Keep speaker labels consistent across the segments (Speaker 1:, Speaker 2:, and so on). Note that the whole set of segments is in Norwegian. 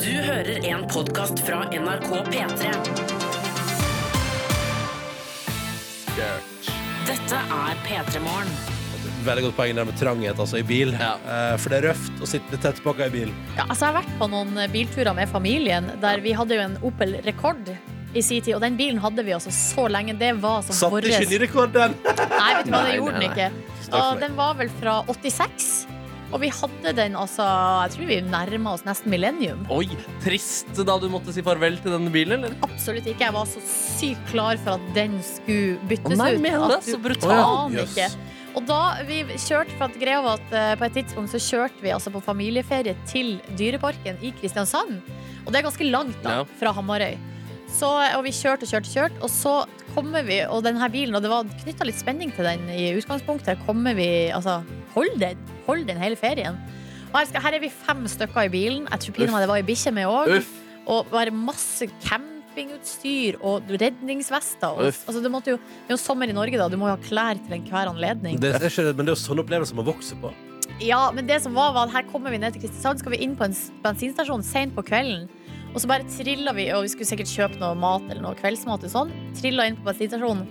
Speaker 1: Du hører en podkast fra NRK P3. Dette er P3 Morgen.
Speaker 2: Veldig godt poeng der med tranghet altså, i bil.
Speaker 3: Ja.
Speaker 2: Eh, for det er røft å sitte tett pakka i bil.
Speaker 4: Ja, altså jeg har vært på noen bilturer med familien Der vi hadde jo en Opel Rekord i sin tid Og den bilen hadde vi altså så lenge Det var som
Speaker 2: Satte
Speaker 4: våres
Speaker 2: ikke ny rekord, den!
Speaker 4: Nei, vet du hva, det
Speaker 3: Nei,
Speaker 4: gjorde
Speaker 3: nei,
Speaker 4: den ikke
Speaker 2: for
Speaker 4: Og Den var vel fra 86 Og vi hadde den altså Jeg tror vi nærmet oss nesten millennium
Speaker 3: Oi, trist da du måtte si farvel til denne bilen, eller?
Speaker 4: Absolutt ikke, jeg var så sykt klar for at den skulle byttes
Speaker 3: Å nei,
Speaker 4: ut
Speaker 3: mener du
Speaker 4: at
Speaker 3: det? Så
Speaker 4: du
Speaker 3: brutalt.
Speaker 4: aner
Speaker 2: Jøss.
Speaker 4: ikke. Og da vi kjørte, for at greia var at eh, på et tidspunkt så kjørte vi altså på familieferie til Dyreparken i Kristiansand. Og det er ganske langt da,
Speaker 3: Ja.
Speaker 4: fra Hamarøy. Så, eh, og vi kjørte og kjørte og kjørte, og så kommer vi, og denne bilen, og det var knytta litt spenning til den i utgangspunktet, kommer vi Altså, hold den! Hold den hele ferien. Og her, skal, her er vi fem stykker i bilen. Jeg tror pinadø det var ei bikkje med òg.
Speaker 3: Uff.
Speaker 4: Og bare masse campingutstyr og redningsvester. Og,
Speaker 3: Uff.
Speaker 4: altså, du måtte jo, det er jo sommer i Norge, da. Du må jo ha klær til enhver anledning.
Speaker 2: Det er ikke, men det er jo sånne opplevelser man vokser på.
Speaker 4: Ja, men det som var, var at her kommer vi ned til Kristiansand, skal vi inn på en s- bensinstasjon sent på kvelden. Og så bare trilla vi, og vi skulle sikkert kjøpe noe mat eller noe kveldsmat og sånn. Trilla inn på bensinstasjonen,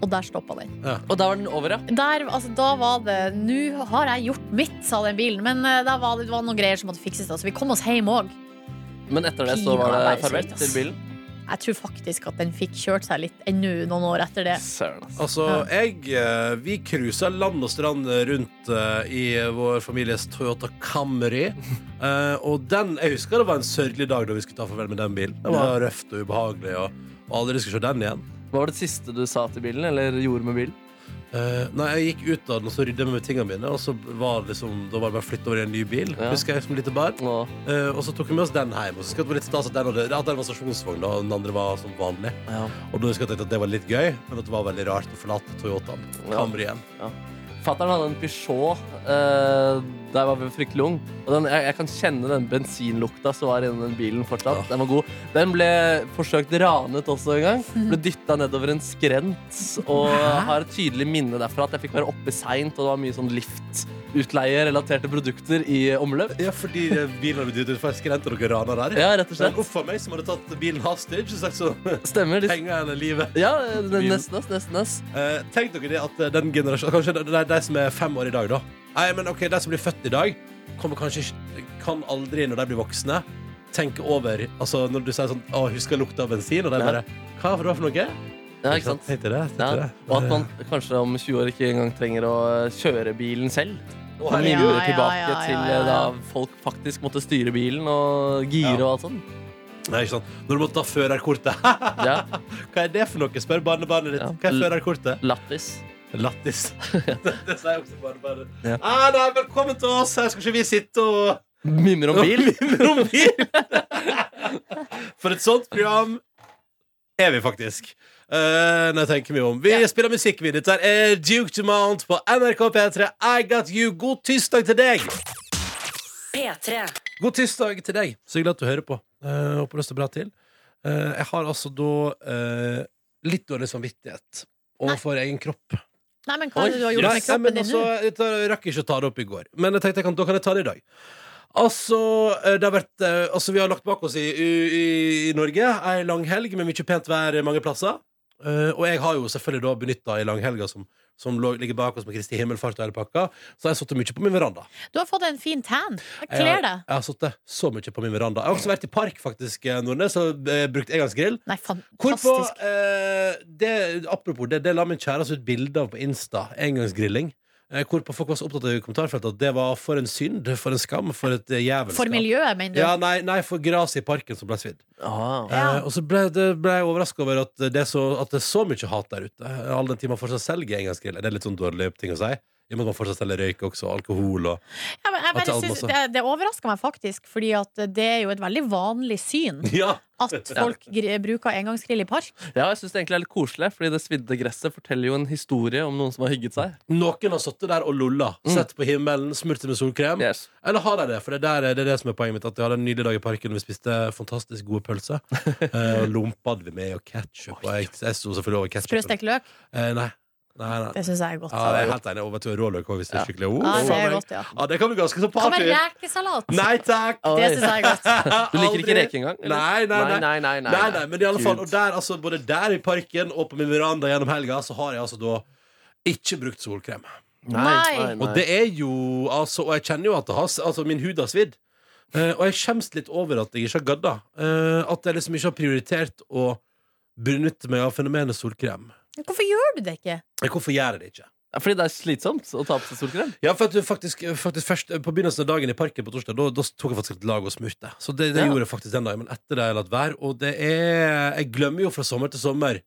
Speaker 4: og der stoppa den.
Speaker 3: Og da var den over, ja.
Speaker 4: Der, altså, da var det Nå har jeg gjort mitt, sa den bilen. Men eh, da var det, det var noen greier som måtte fikses, da. Så vi kom oss hjem òg.
Speaker 3: Men etter det så
Speaker 4: Pinadø
Speaker 3: var det
Speaker 4: er det
Speaker 3: farvel
Speaker 4: sweet, ass.
Speaker 3: til bilen.
Speaker 4: Jeg tror faktisk at den fikk kjørt seg litt ennå noen år etter det.
Speaker 3: Søren, ass.
Speaker 2: Altså, jeg eh, Vi cruisa land og strand rundt eh, i vår families Toyota Camry. Eh, og den Jeg husker det var en sørgelig dag da vi skulle ta farvel med den bilen. Det var røft og ubehagelig, og, og aldri skulle se den igjen.
Speaker 3: Hva var det siste du sa til bilen, eller gjorde med bilen?
Speaker 2: Eh, nei, jeg gikk ut av den og så rydda jeg med tingene mine, og så var det liksom, da var det bare flytt over i en ny bil.
Speaker 3: Ja.
Speaker 2: Husker jeg som lite barn.
Speaker 3: Nå.
Speaker 2: Eh, og så tok vi med oss den hjem. Og så husker jeg at det var litt stas at den, hadde, at den var stasjonsvogn, da, og den andre var som vanlig.
Speaker 3: Ja.
Speaker 2: Og da husker jeg at jeg tenkte at det var litt gøy, men at det var veldig rart å forlate Toyotaen.
Speaker 3: Ja.
Speaker 2: Camry igjen.
Speaker 3: Fatteren hadde en Peugeot eh, da jeg var fryktelig ung. Og den, jeg, jeg kan kjenne den bensinlukta som var inni den bilen fortsatt.
Speaker 2: Ja.
Speaker 3: Den var god. Den ble forsøkt ranet også en gang. Ble dytta nedover en skrent. Og har et tydelig minne derfra at jeg fikk være oppe seint, og det var mye sånn liftutleie-relaterte produkter i omløp.
Speaker 2: Ja, fordi eh, bilen hadde blitt dyttet utfor skrenter og rana der.
Speaker 3: Ja, rett og
Speaker 2: Men
Speaker 3: slett.
Speaker 2: opp for meg som hadde tatt bilen hostage og sagt sånn
Speaker 3: Stemmer. De,
Speaker 2: Penger eller livet.
Speaker 3: ja, nesten ass, nesten ass.
Speaker 2: Eh, tenk dere det at eh, den generasjonen Kanskje det er de som er fem år i dag, da. Nei, men ok, de som blir født i dag, kommer kanskje ikke Kan aldri, når de blir voksne, tenke over Altså, når du sier sånn Å, husker jeg lukta av bensin? Og de
Speaker 3: Ja.
Speaker 2: bare Hva var det for noe?
Speaker 3: Ja, ikke sant?
Speaker 2: Tenkte det. Tenkte
Speaker 3: Ja.
Speaker 2: det.
Speaker 3: Og at man kanskje om 20 år ikke engang trenger å eh, kjøre bilen selv.
Speaker 2: Å,
Speaker 3: Man
Speaker 2: herregud.
Speaker 4: Ja,
Speaker 3: lurer
Speaker 4: ja,
Speaker 3: tilbake
Speaker 4: ja, ja,
Speaker 3: til
Speaker 4: ja.
Speaker 3: eh, da folk faktisk måtte styre bilen og gire
Speaker 2: Ja.
Speaker 3: og alt sånt.
Speaker 2: Nei, ikke sant. Når du måtte ta førerkortet.
Speaker 3: Ja,
Speaker 2: Hva er det for noe? Spør barnebarnet ditt.
Speaker 3: Ja.
Speaker 2: Hva er førerkortet?
Speaker 3: Lattis.
Speaker 2: Lattis. det, det sier jeg også bare. bare.
Speaker 3: Ja.
Speaker 2: Ah, nei, velkommen til oss! Her skal ikke vi sitte og
Speaker 3: Mimre om bil.
Speaker 2: Om bil. For et sånt program er vi faktisk. Eh, når jeg tenker meg om Vi spiller musikk, vi. Dette er Duke Dumont på NRK P3. I got you. God tirsdag til deg!
Speaker 1: P3.
Speaker 2: God tirsdag til deg. Så hyggelig at du hører på. Eh, håper det står bra til. Eh, jeg har altså da eh, litt dårlig samvittighet overfor egen kropp.
Speaker 4: Nei, men hva er det du har gjort
Speaker 2: Nei, men
Speaker 4: med kroppen din nå?
Speaker 2: altså, dette rakk jeg ikke å ta det opp i går, men jeg tenkte jeg kan, da kan jeg ta det i dag. Altså, eh, det har vært, eh, altså vi har lagt bak oss i, i, i Norge ei lang helg med mye pent vær mange plasser. Eh, og jeg har jo selvfølgelig da benytta ei langhelga som, som lå, ligger bak oss med Kristi himmelfart og hele pakka, så har jeg sittet mye på min veranda.
Speaker 4: Du har fått en fin tan.
Speaker 2: Jeg
Speaker 4: Det
Speaker 2: har,
Speaker 4: kler
Speaker 2: jeg
Speaker 4: deg.
Speaker 2: har sittet så mye på min veranda. Jeg har også vært i park, faktisk, eh, Nordnes, og eh, brukt engangsgrill.
Speaker 4: Nei,
Speaker 2: Hvorpå,
Speaker 4: fantastisk.
Speaker 2: eh, det, apropos det, det la min kjæreste ut bilde av på Insta. Engangsgrilling. Eh, hvorpå folk var så opptatt av i kommentarfeltet at det var for en synd, for en skam, for et eh, jævelskap.
Speaker 4: For miljøet, mener du?
Speaker 2: Ja, nei, nei, for gresset i parken som ble svidd.
Speaker 3: Ah.
Speaker 4: Ja.
Speaker 2: Eh, og så ble, det, ble jeg overraska over at det, er så, at det er så mye hat der ute. Eh, All den tid man fortsatt selger engangsgrill. Det er litt sånn dårlig ting å si. I og med at man fortsatt selger røyk også, og alkohol og
Speaker 4: Ja, men jeg
Speaker 2: At det
Speaker 4: bare
Speaker 2: er
Speaker 4: synes,
Speaker 2: masse.
Speaker 4: det, det overrasker meg faktisk, Fordi at det er jo et veldig vanlig syn
Speaker 2: Ja!
Speaker 4: at folk gr bruker engangsgrill i park.
Speaker 3: Ja, jeg syns det egentlig er litt koselig, fordi det svidde gresset forteller jo en historie om noen som har hygget seg.
Speaker 2: Noen har sittet der og lolla. Sett på himmelen, smurt seg med solkrem.
Speaker 3: Mm. Yes.
Speaker 2: Eller har de det? For det, der, er- det er det som er poenget mitt. At Vi hadde en nydelig dag i parken, og vi spiste fantastisk gode pølser. Eh, og lompa hadde vi med, og ketsjup. Og jeg, jeg sto selvfølgelig over ketsjupen.
Speaker 4: Sprøstekt løk.
Speaker 2: Eh, nei. Nei, nei.
Speaker 4: Det syns jeg er godt.
Speaker 2: Ja, jeg er helt enig. Og vet du, Råløk også, hvis det er skikkelig oh,
Speaker 4: Ja, det
Speaker 2: faen,
Speaker 4: er
Speaker 2: jeg-
Speaker 4: godt, ja.
Speaker 2: Ja, det kan bli ganske så
Speaker 4: Hva med
Speaker 2: party.
Speaker 4: rekesalat?
Speaker 2: Nei takk!
Speaker 3: Oi.
Speaker 4: Det syns jeg er godt.
Speaker 3: Du liker ikke reke engang? eller?
Speaker 2: Nei, nei, nei.
Speaker 3: nei, nei, nei,
Speaker 2: Nei, nei, men i alle fall,
Speaker 3: Gud.
Speaker 2: og der, altså, både der i parken og på min veranda gjennom helga, så har jeg altså da ikke brukt solkrem.
Speaker 3: Nei,
Speaker 4: Nei.
Speaker 3: nei, nei.
Speaker 2: Og det er jo, altså, og jeg kjenner jo at det har, altså, min hud har svidd. Eh, og jeg skjemmes litt over at jeg ikke har gadda. Eh, at jeg liksom ikke har prioritert å benytte meg av fenomenet solkrem.
Speaker 4: Hvorfor gjør du det ikke?
Speaker 2: Eh, Hvorfor gjør jeg det ikke?
Speaker 3: Fordi det er slitsomt å ta på seg solkrem.
Speaker 2: Ja, for at du faktisk, faktisk først eh, På begynnelsen av dagen i parken på torsdag, da, da tok jeg faktisk et lag og smurte. Så det, det
Speaker 3: Ja.
Speaker 2: gjorde jeg faktisk den dagen. Men etter det har jeg latt være. Og det er Jeg glemmer jo fra sommer til sommer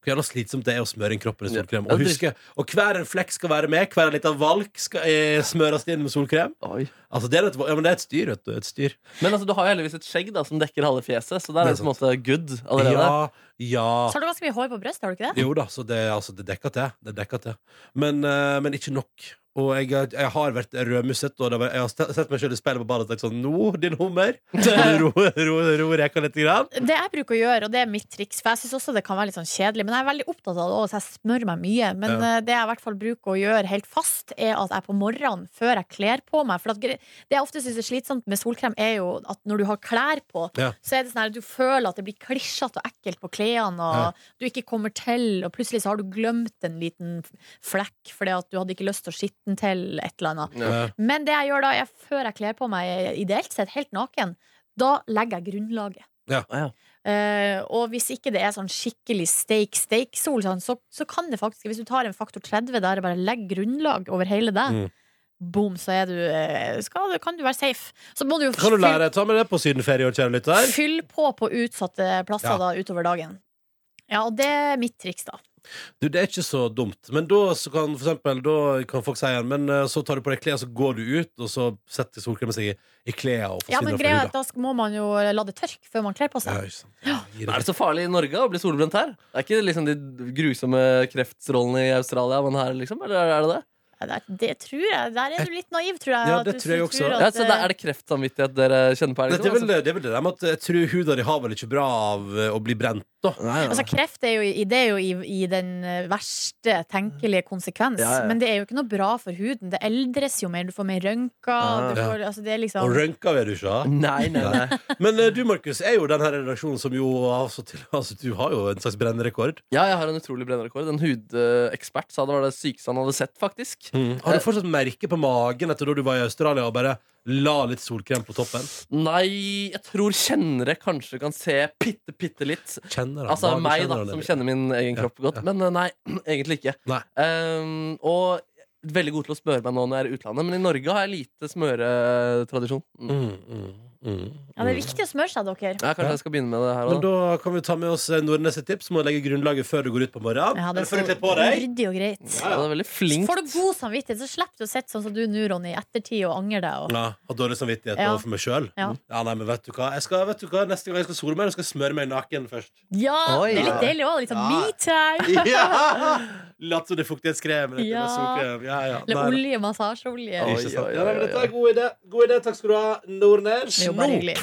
Speaker 2: hvor jævla slitsomt det er å smøre inn kroppen i
Speaker 3: Ja.
Speaker 2: solkrem.
Speaker 3: Ja,
Speaker 2: Og,
Speaker 3: det-
Speaker 2: huske, og hver en flekk skal være med, hver en liten valk skal eh, smøres inn med solkrem.
Speaker 3: Oi.
Speaker 2: Altså, det er et, ja, men det er et styr, vet du. Et styr.
Speaker 3: Men altså, du har jo heldigvis et skjegg da, som dekker halve fjeset, så
Speaker 2: Det er
Speaker 3: der er det på en måte good allerede.
Speaker 2: Ja, ja.
Speaker 4: Så har du ganske mye hår på brystet, har du ikke det?
Speaker 2: Jo da, så det, altså, det dekker til. Det dekker til. Men, eh, men ikke nok. Og jeg, har- jeg har vært rødmusset, og det var, jeg har ste- sett meg selv i speilet på badet og tenkt sånn Nå, din hummer! Ro, ro, ro reka litt. Grann.
Speaker 4: Det jeg bruker å gjøre, og det er mitt triks, for jeg syns også det kan være litt sånn kjedelig, men jeg er veldig opptatt av det òg, så jeg smører meg mye. Men
Speaker 2: Ja.
Speaker 4: eh, det jeg i hvert fall bruker å gjøre helt fast, er at jeg på morgenen, før jeg kler på meg For at gre- det jeg ofte syns er slitsomt med solkrem, er jo at når du har klær på,
Speaker 2: Ja.
Speaker 4: så er det sånn her at du føler at det blir klissete og ekkelt på klærne, og
Speaker 2: Ja.
Speaker 4: du ikke kommer til, og plutselig så har du glemt en liten flekk fordi at du hadde ikke lyst til å skitne til et eller annet.
Speaker 2: Ja.
Speaker 4: Men det jeg gjør da, jeg, før jeg kler på meg ideelt sett helt naken, da legger jeg grunnlaget.
Speaker 2: Ja.
Speaker 3: Ah, ja.
Speaker 4: Eh, og hvis ikke det er sånn skikkelig steik-steik-sol, sånn, så, så kan det faktisk Hvis du tar en faktor 30 der og bare legger grunnlag over hele deg,
Speaker 2: Mm.
Speaker 4: boom, så er du, eh, skal, du- kan du være safe. Så må du jo
Speaker 2: Kan du
Speaker 4: fylle,
Speaker 2: lære ta med det på sydenferie og kjære lytter?
Speaker 4: fylle på på utsatte plasser
Speaker 2: Ja.
Speaker 4: da utover dagen. Ja, og det er mitt triks, da.
Speaker 2: Du, det er ikke så dumt. Men da så kan, for eksempel, da kan folk si igjen Men eh, så tar du på deg klær, så går du ut, og så setter solkremen seg i, i klærne og
Speaker 4: Ja, men
Speaker 2: forsvinner
Speaker 4: greia er at
Speaker 2: fra huda.
Speaker 4: da sk- må man jo la det tørke før man kler
Speaker 2: Ja,
Speaker 4: på seg.
Speaker 2: ikke sant. Ja, gir
Speaker 3: Er
Speaker 2: det-
Speaker 3: det så farlig i Norge å bli solbrent her? Det er ikke liksom de grusomme kreftstrålene i Australia man har, liksom? Eller er det det?
Speaker 4: Det, det tror jeg. Der er du litt naiv, tror jeg.
Speaker 2: Ja,
Speaker 4: at
Speaker 2: det
Speaker 4: du
Speaker 2: tror jeg også.
Speaker 4: at, eh,
Speaker 3: Ja, så det er det kreftsamvittighet dere kjenner på her?
Speaker 2: Det er vel
Speaker 3: Liksom?
Speaker 2: det, er vel det der med at jeg tror huda di har vel ikke bra av eh, å bli brent, da.
Speaker 3: Nei,
Speaker 4: Altså,
Speaker 3: nei.
Speaker 4: kreft er jo, i- det er jo i, i den eh, verste tenkelige konsekvens.
Speaker 3: Ja, ja.
Speaker 4: Men det er jo ikke noe bra for huden. Det eldres jo mer, du får mer rønker.
Speaker 3: Ah.
Speaker 4: Du får, altså, det er liksom
Speaker 2: Og rønka vil du ikke ha.
Speaker 3: Nei, nei, nei.
Speaker 2: Men eh, du, Markus, er jo den her redaksjonen som jo altså, til, altså, Du har jo en slags brennerekord.
Speaker 3: Ja, jeg har en utrolig brennerekord. En hudekspert sa det var det sykeste han hadde sett, faktisk.
Speaker 2: Har du fortsatt merke på magen etter da du var i Australia og bare la litt solkrem på toppen?
Speaker 3: Nei, jeg tror kjennere kanskje kan se bitte, bitte litt.
Speaker 2: Kjenner han
Speaker 3: Altså
Speaker 2: magen,
Speaker 3: meg, da,
Speaker 2: han det?
Speaker 3: som kjenner min egen
Speaker 2: Ja,
Speaker 3: kropp godt. Men eh, nei, egentlig ikke.
Speaker 2: Nei.
Speaker 3: Ehm, og veldig god til å smøre meg nå når jeg er i utlandet, men i Norge har jeg lite smøretradisjon. Mm.
Speaker 2: Mm, mm, mm,
Speaker 4: Ja, det er
Speaker 2: mm.
Speaker 4: viktig å smøre seg, dere.
Speaker 3: Ja, kanskje
Speaker 2: Ja.
Speaker 3: jeg skal begynne med det her
Speaker 2: Men
Speaker 3: òg.
Speaker 2: da kan vi ta med oss eh, Nordnes sitt tips om å legge grunnlaget før du går ut på morgenen.
Speaker 4: Ja,
Speaker 2: Eller
Speaker 4: det er så
Speaker 2: før du kler på deg.
Speaker 4: ryddig og greit.
Speaker 3: Ja, det er veldig
Speaker 4: Så
Speaker 3: flink.
Speaker 4: Får du god samvittighet, så slipper du å sitte sånn som du nå, Ronny, i ettertid og angre deg. Og...
Speaker 2: Ja, Har dårlig samvittighet
Speaker 4: Ja.
Speaker 2: overfor meg sjøl.
Speaker 4: Ja.
Speaker 2: nei, men vet du hva? Jeg skal, vet du hva? Neste gang jeg skal sole meg, skal jeg smøre meg naken først.
Speaker 4: Ja,
Speaker 3: Oi.
Speaker 4: det er litt deilig òg. Litt sånn
Speaker 2: Ja.
Speaker 4: me time.
Speaker 2: ja! Latt som det er fuktighetskrem. eller
Speaker 4: Ja.
Speaker 2: solkrem. Ja, ja.
Speaker 4: Eller
Speaker 2: Nei, nei.
Speaker 4: olje, massasjeolje.
Speaker 3: Oi,
Speaker 2: Ikke sant?
Speaker 3: oi,
Speaker 2: Ja, nei, men
Speaker 3: oi,
Speaker 2: dette
Speaker 3: oi.
Speaker 2: er god idé. God idé. Takk skal du ha, Nordnes.
Speaker 4: Det er jo
Speaker 2: Nå
Speaker 4: bare hyggelig.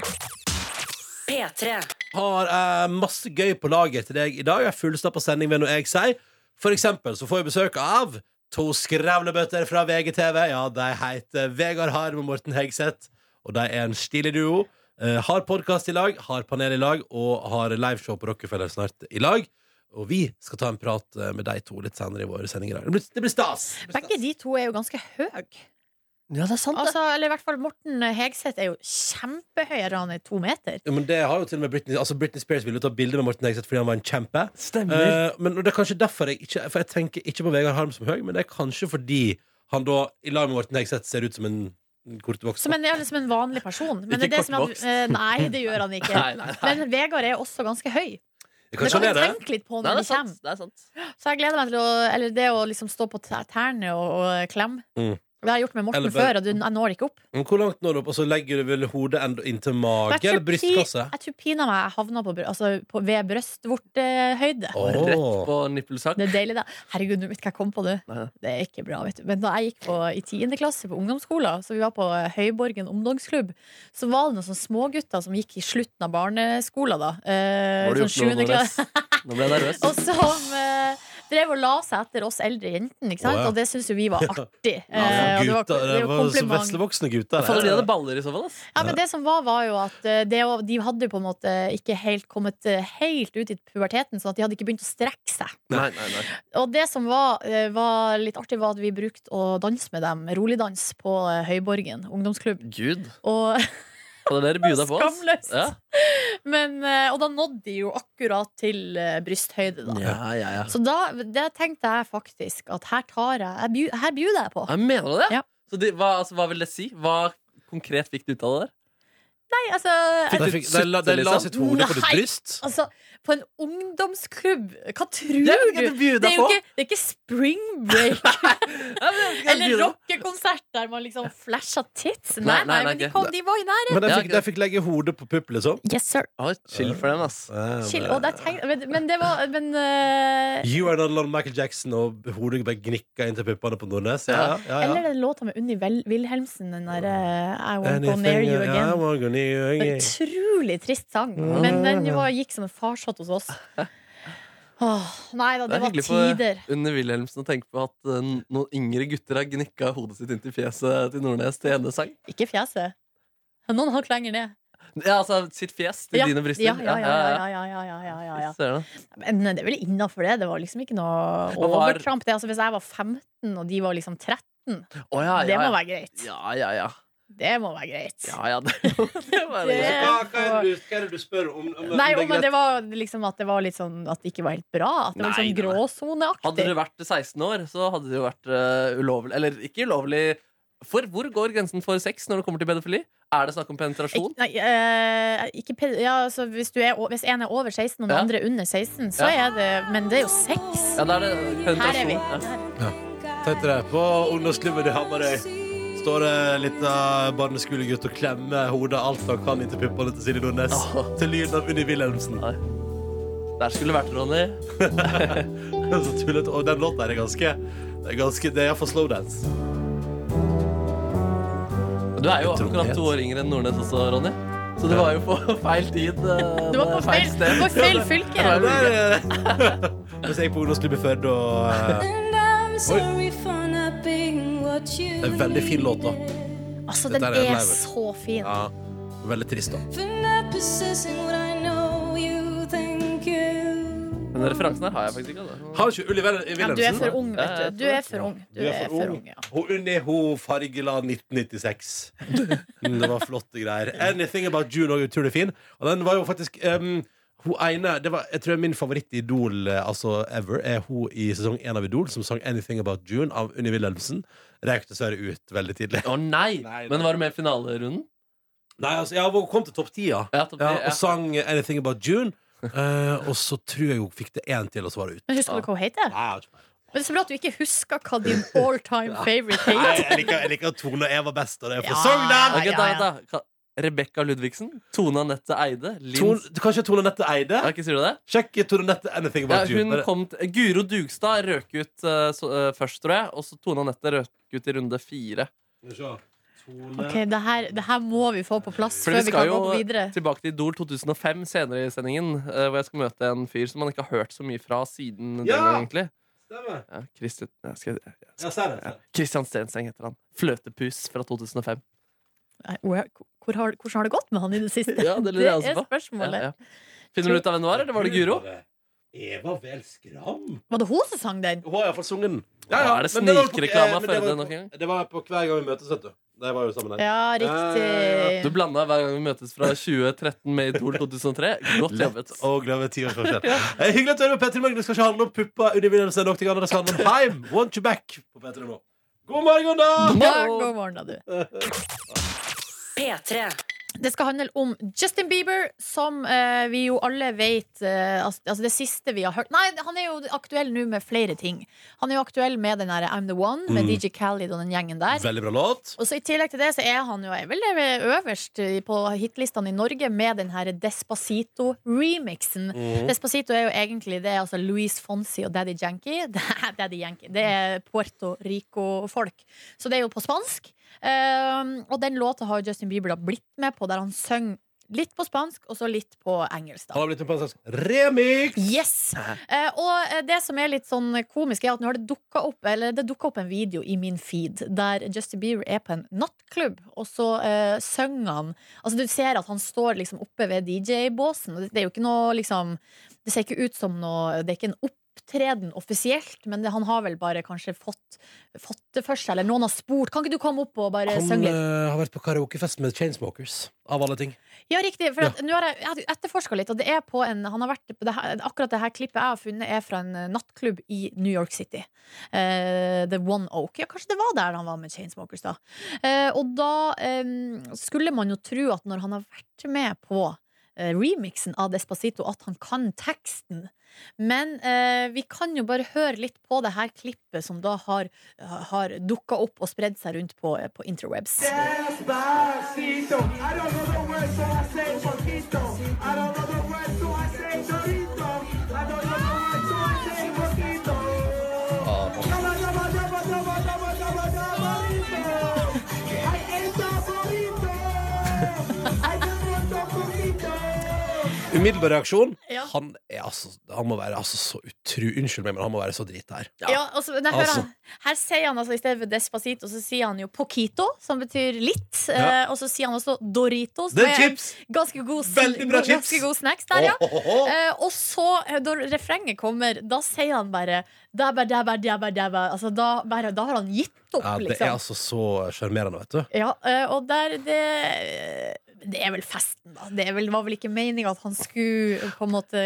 Speaker 1: P3.
Speaker 2: har jeg masse gøy på lager til deg i dag. Jeg er fullstappa sending ved noe jeg sier. For eksempel så får jeg besøk av to skravlebøtter fra VGTV. Ja, de heter Vegard Harm og Morten Hegseth, og de er en stilig duo. Eh, har podkast i lag, har panel i lag og har liveshow på Rockefeller snart i lag. Og vi skal ta en prat eh, med de to litt senere i våre sendinger. i dag. Det blir, det blir stas! Det blir
Speaker 4: Begge
Speaker 2: stas.
Speaker 4: de to er jo ganske høye.
Speaker 3: Ja, det er sant, det.
Speaker 4: Altså, eller i hvert fall Morten Hegseth er jo kjempehøy. er Han er to meter.
Speaker 2: Ja, men det har jo til og med Britney, altså Britney Spears ville jo ta bilde med Morten Hegseth fordi han var en kjempe.
Speaker 3: Stemmer.
Speaker 2: Eh, men det er kanskje derfor jeg ikke For jeg tenker ikke på Vegard Harm som høy, men det er kanskje fordi han da i lag med Morten Hegseth ser ut som en en kortvokst.
Speaker 4: Som en, ja, som en vanlig person. Men det
Speaker 3: Ikke
Speaker 4: er det som er,
Speaker 3: kortvokst.
Speaker 4: eh, nei, det gjør han ikke.
Speaker 3: Nei, nei, nei.
Speaker 4: Men Vegard er også ganske høy.
Speaker 2: Det
Speaker 4: Det
Speaker 2: kanskje han
Speaker 4: kan vi
Speaker 2: er det.
Speaker 4: tenke litt på
Speaker 3: Nei,
Speaker 4: når vi
Speaker 3: det er sant.
Speaker 4: kommer.
Speaker 3: Det er sant.
Speaker 4: Så jeg gleder meg til å Eller det å liksom stå på tær- tærne og, og klemme.
Speaker 2: Mm.
Speaker 4: Det har jeg gjort med Morten
Speaker 2: Eller bare-
Speaker 4: før, og du, jeg når ikke opp.
Speaker 2: Men hvor langt når du opp, og så legger du vel hodet enda inntil mage
Speaker 4: Jeg tror
Speaker 2: eller brystkasse?
Speaker 4: pi- Jeg tror pinadø meg jeg havna på, br- altså, på, ved brystvortehøyde.
Speaker 2: Åh.
Speaker 3: Rett på nippelsak.
Speaker 4: Det er deilig, da. Herregud, nå vet jeg hva jeg kom på nå.
Speaker 3: Nei.
Speaker 4: Det er ikke bra, vet du. Men da jeg gikk på, i tiende klasse på ungdomsskolen, så vi var på eh, Høyborgen ungdomsklubb, så var det noen sånne smågutter som gikk i slutten av barneskolen, da. Eh,
Speaker 3: Nå har
Speaker 4: sånn
Speaker 3: du gjort noe,
Speaker 4: sjuende klasse.
Speaker 3: Nordnes. Nå ble jeg nervøs.
Speaker 4: Og som eh, drev og la seg etter oss eldre jentene, ikke sant?
Speaker 2: Å, ja.
Speaker 4: og det syns jo vi var artig. Eh, og det var-
Speaker 2: Gutter,
Speaker 4: det er
Speaker 2: det
Speaker 4: jo
Speaker 2: var så
Speaker 4: kompliment.
Speaker 2: veslevoksne gutter.
Speaker 3: Faller de
Speaker 2: det.
Speaker 3: hadde baller i så fall? ass?
Speaker 4: Ja, men det som var, var jo at eh, det, å- de hadde på en måte ikke helt kommet eh, helt ut i puberteten, sånn at de hadde ikke begynt å strekke seg.
Speaker 3: Nei, nei, nei.
Speaker 4: Og det som var, eh, var litt artig, var at vi brukte å danse med dem, roligdans, på eh, Høyborgen ungdomsklubb.
Speaker 3: Gud.
Speaker 4: Og,
Speaker 3: Hadde dere bjuda på oss?
Speaker 4: Skamløst.
Speaker 3: Ja.
Speaker 4: men, eh, og da nådde de jo akkurat til eh, brysthøyde, da.
Speaker 3: ja, ja, ja.
Speaker 4: Så da det tenkte jeg faktisk at her tar jeg, jeg bju- Her bjuder jeg på.
Speaker 3: Nei, mener du det?
Speaker 4: Ja.
Speaker 3: Så de, hva, altså, hva vil det si? Hva konkret fikk du ut av det der?
Speaker 4: Nei, altså, jeg,
Speaker 2: De, fikk, de, la- de la sitt hode på ditt
Speaker 4: Nei.
Speaker 2: bryst.
Speaker 4: altså På en ungdomsklubb, hva tror
Speaker 3: Jeg vil
Speaker 4: du?
Speaker 3: ikke bjuda
Speaker 4: Det er jo
Speaker 3: på.
Speaker 4: ikke, det er ikke spring break
Speaker 3: Ja, men jeg skal
Speaker 4: eller
Speaker 3: bjuda på.
Speaker 4: rockekonsert der man liksom flasha tits. Nei,
Speaker 3: Nei,
Speaker 4: nei,
Speaker 3: nei,
Speaker 4: men de,
Speaker 3: nei,
Speaker 4: kom, de var i nærheten.
Speaker 2: Men de
Speaker 3: Ja,
Speaker 2: fikk, de fikk legge hodet på pupp, liksom.
Speaker 4: Yes, sir.
Speaker 3: Oi, chill for dem, ass.
Speaker 4: Chill. Og det tenk, men, men det var Men eh,
Speaker 2: You are not alone, Michael Jackson, og hodet bare gnikka inn til puppene på Nordnes. Ja, ja, Ah, ja,
Speaker 4: Eller
Speaker 2: ja.
Speaker 4: den låta med Unni Vel Wilhelmsen, den derre I Won't Go
Speaker 2: Anything,
Speaker 4: Near You
Speaker 2: yeah, I
Speaker 4: Again.
Speaker 2: won't go near you again.
Speaker 4: Utrolig trist sang,
Speaker 2: Mm.
Speaker 4: men den var, gikk som en farsott hos oss. Åh, nei da, det,
Speaker 3: er
Speaker 4: var
Speaker 3: hyggelig for
Speaker 4: tider.
Speaker 3: Unni Wilhelmsen å tenke på at eh, noen yngre gutter har gnikka hodet sitt inntil fjeset til Nordnes til hennes sang.
Speaker 4: Ikke fjeset. Noen hakk lenger ned.
Speaker 3: Ja, altså sitt fjes til dine bryster.
Speaker 4: Ja, ja, ja, ja, ja, ja, ja, ja, ja, ja.
Speaker 3: Ser du?
Speaker 4: Men eh, det er vel innafor det. Det var liksom ikke noe
Speaker 3: Men var-
Speaker 4: overtramp. Det, altså, hvis jeg var 15, og de var liksom 13,
Speaker 3: Å, ja,
Speaker 4: det
Speaker 3: ja,
Speaker 4: må
Speaker 3: ja.
Speaker 4: være greit.
Speaker 3: Ja, ja, ja.
Speaker 4: Det må være greit.
Speaker 3: ja, ja det, det var det.
Speaker 4: Det-
Speaker 2: Hva, hva, er det du, hva er det du spør om? om, om det
Speaker 4: Nei,
Speaker 2: er
Speaker 4: og, men
Speaker 2: greit?
Speaker 4: det var liksom at det var litt sånn at det ikke var helt bra. At det var
Speaker 3: Nei,
Speaker 4: litt sånn
Speaker 3: nei. Hadde
Speaker 4: gråsoneaktig.
Speaker 3: du vært 16 år, så hadde det jo vært eh, ulovlig. Eller ikke ulovlig. For hvor går grensen for sex når det kommer til pedofili? Er det snakk om penetrasjon?
Speaker 4: Ik nei, eh, ikke pe ja, altså, hvis, du er, o- hvis en er over 16 og den
Speaker 3: Ja.
Speaker 4: andre er under 16, så er det Men det er jo sex.
Speaker 3: Ja, da er det
Speaker 4: Her er
Speaker 3: penetrasjon.
Speaker 4: vi.
Speaker 3: Ja.
Speaker 2: Tenk deg det, på ungdomsklubben i Hamarøy står det en liten barneskolegutt og klemmer hodet alt han kan inntil puppene til Silje Nordnes.
Speaker 3: Åh.
Speaker 2: Til lyden av Unni Wilhelmsen.
Speaker 3: Der skulle det vært, Ronny.
Speaker 2: Så tullete. Og den låta her er ganske Det er ganske, det er iallfall slowdance.
Speaker 3: Du er jo
Speaker 2: Trompet.
Speaker 3: akkurat to år yngre enn Nordnes også, Ronny. Så du var jo på feil tid. eh,
Speaker 4: Du var på feil,
Speaker 3: sted.
Speaker 4: du var på feil
Speaker 3: Ja,
Speaker 4: fylke.
Speaker 3: det er- eh,
Speaker 2: Hvis jeg gikk på ungdomsklubb i Førde og eh,
Speaker 5: And I'm sorry for not being what you
Speaker 2: Det er en veldig fin låt, da.
Speaker 5: needed.
Speaker 4: Altså,
Speaker 2: Dette
Speaker 4: den
Speaker 2: er en
Speaker 4: er
Speaker 2: level.
Speaker 4: så fin.
Speaker 2: Ja. Veldig trist, da.
Speaker 5: For not possessing what I know you think you
Speaker 3: Den referansen her har jeg faktisk ikke. Altså.
Speaker 2: Har ikke Unni Wil-
Speaker 4: Ja, du er
Speaker 2: Wilhelmsen?
Speaker 4: for ung, vet du. Du er for ung. Du er for ung, ja.
Speaker 2: Hun Unni hun fargela 1996. Mm, Det var flotte greier. 'Anything About June' og utrolig fin. Og den var jo faktisk em, hun ene, det var, Jeg tror min favoritt i Idol eh, altså ever er hun i sesong én av Idol som sang 'Anything About June' av Unni Wilhelmsen. Røyk dessverre ut veldig tidlig.
Speaker 3: Å nei.
Speaker 2: Nei,
Speaker 3: Men
Speaker 2: nei.
Speaker 3: var du med i finalerunden?
Speaker 2: Nei, altså, ja, Hun kom til topp ti, ja.
Speaker 3: Ja, topp ti,
Speaker 2: ja.
Speaker 3: ja.
Speaker 2: Og sang 'Anything About June'. Eh, og så tror jeg hun fikk det én til, og så var det ut.
Speaker 4: Men husker du hva hun heter?
Speaker 2: Nei, jeg har ikke peiling.
Speaker 4: Men det er så bra at du ikke husker hva din all time favorite
Speaker 2: Nei,
Speaker 4: heter.
Speaker 2: jeg liker, jeg liker at Tone og Eva best, og det er fra
Speaker 4: Ja.
Speaker 2: Sogndal!
Speaker 3: Ok,
Speaker 4: ja,
Speaker 3: da,
Speaker 4: ja.
Speaker 3: da. Ka- Rebekka Ludvigsen. Tone Anette Eide. Linn
Speaker 2: Tone- Kanskje Tone Nette Eide?
Speaker 3: Ja, ikke sier du det?
Speaker 2: Sjekk Tone Nette Anything
Speaker 3: Ja,
Speaker 2: About
Speaker 3: hun
Speaker 2: You.
Speaker 3: kom til, Guro Dugstad røk ut eh, så, eh, først, tror jeg. Og så Tone Anette røk ut i runde fire.
Speaker 4: Ok, det her, det her må vi få på plass før
Speaker 3: For vi
Speaker 4: vi
Speaker 3: skal
Speaker 4: kan
Speaker 3: jo
Speaker 4: gå videre.
Speaker 3: tilbake til Idol 2005 senere i sendingen. eh, hvor jeg skal møte en fyr som man ikke har hørt så mye fra siden den
Speaker 2: Ja!
Speaker 3: gang, egentlig.
Speaker 2: Stemmer.
Speaker 3: Ja, Christian, jeg skal, jeg, jeg
Speaker 2: Ja,
Speaker 3: skal,
Speaker 2: ser
Speaker 3: ja.
Speaker 2: det.
Speaker 3: Christian Stenseng heter han. Fløtepus fra 2005.
Speaker 4: Nei, Hvor, hvor har, hvordan har det gått med han i det siste?
Speaker 3: Ja, det lurer jeg også
Speaker 4: er
Speaker 3: på.
Speaker 4: spørsmålet.
Speaker 3: Ja, ja. Finner du ut av hvem det var, eller var det Guro?
Speaker 2: Eva Vel Skram?
Speaker 4: Var det hun som sang den?
Speaker 2: Hun har iallfall sunget den.
Speaker 3: Er det
Speaker 2: men var jo på-
Speaker 3: snikreklame
Speaker 2: eh,
Speaker 3: av
Speaker 2: men det
Speaker 3: Førde
Speaker 2: var jo
Speaker 3: nok
Speaker 2: på-
Speaker 3: en
Speaker 2: Det var jo på hver gang vi møtes, vet du. Det var jo sammen her.
Speaker 4: Ja,
Speaker 3: Du
Speaker 4: riktig.
Speaker 3: blanda hver gang vi møtes fra 2013 med Idol 2003. Godt jobbet.
Speaker 2: Og glemme ti års forskjell. Eh, Hyggelig at du hører på P3 Morgen. Det skal ikke handle om pupper, undervinnelse eller noe annet. Det skal handle om Heim. Want you back på P3 nå. God morgen, da!
Speaker 4: Ja, god morgen, da, du.
Speaker 1: P3.
Speaker 4: Det skal handle om Justin Bieber, som eh, vi jo alle vet eh, altså, altså det siste vi har hørt Nei, han er jo aktuell nå med flere ting. Han er jo aktuell med den derre I'm The One, med DJ Khalid og den gjengen der.
Speaker 2: Veldig bra låt.
Speaker 4: Og så I tillegg til det så er han jo er vel det øverst i- på hitlistene i Norge med den her Despacito-remixen. Despacito er jo egentlig det er altså Louis Fonsi og Daddy Yankee. Det er Daddy Yankee. Det er Puerto Rico-folk. Ehm, Så det er jo på spansk. Um, og den låta har Justin Bieber da blitt med på, der han synger Litt på spansk, og så litt på
Speaker 2: Han
Speaker 4: engelsk. da
Speaker 2: har blitt med på en slags remix!
Speaker 4: Yes! Eh, og eh, det som er litt sånn komisk, er at nå har det dukka opp, eller det dukket opp en video i min feed der Justin Bieber er på en nattklubb, og så eh, synger han Altså, du ser at han står liksom oppe ved DJ-båsen, og det er jo ikke noe liksom Det ser ikke ut som noe Det er ikke en opptreden offisielt, men det, han har vel bare kanskje fått, fått det for seg, eller noen har spurt Kan ikke du komme opp og bare
Speaker 2: Han
Speaker 4: synge? litt?»
Speaker 2: eh, har vært på karaokefest med Chainsmokers, av alle ting.
Speaker 4: Ja, riktig. For at, nå har jeg, jeg etterforska litt, og det er på en han har vært, på det her, Akkurat det her klippet jeg har funnet, er fra en eh, nattklubb i New York City. Eh, The One Oak. Ja, kanskje det var der han var med Chainsmokers, da. Eh, og da eh, skulle man jo tro at når han har vært med på eh, remixen av Despacito, at han kan teksten. Men eh, vi kan jo bare høre litt på det her klippet som da har, har dukka opp og spredd seg rundt på, eh, på interwebs.
Speaker 6: Despacito. I don't know the words, so I say poquito. I don't know the words, so I say chorito. I don't know the words, so I say poquito. Dabba, dabba, dabba, dabba, dabba, dabba, dabbarito. I ate the burrito. I just want the poquito.
Speaker 2: Umiddelbar reaksjon.
Speaker 4: Ja.
Speaker 2: Han, er altså, han må være altså så utru... Unnskyld meg, men han må være så drit der.
Speaker 4: Ja, altså, men jeg hører
Speaker 2: Altså.
Speaker 4: han- Her sier han altså i stedet for despacito, så sier han jo poquito, som betyr litt.
Speaker 2: Ja.
Speaker 4: Eh, og så sier han også doritos.
Speaker 2: Det er
Speaker 4: en
Speaker 2: chips.
Speaker 4: Ganske god,
Speaker 2: Veldig bra chips.
Speaker 4: ganske god snacks der, ja.
Speaker 2: Ho, ho, ho.
Speaker 4: Eh, og så, eh, når refrenget kommer, da sier han bare dabba, dabba, dabba, dabba. Altså, da, bare, da har han gitt opp,
Speaker 2: Ja, det er
Speaker 4: liksom.
Speaker 2: altså så sjarmerende, vet du.
Speaker 4: Ja, eh, og der det Det er vel festen, da. Det er vel, var vel ikke meninga at han skulle på en måte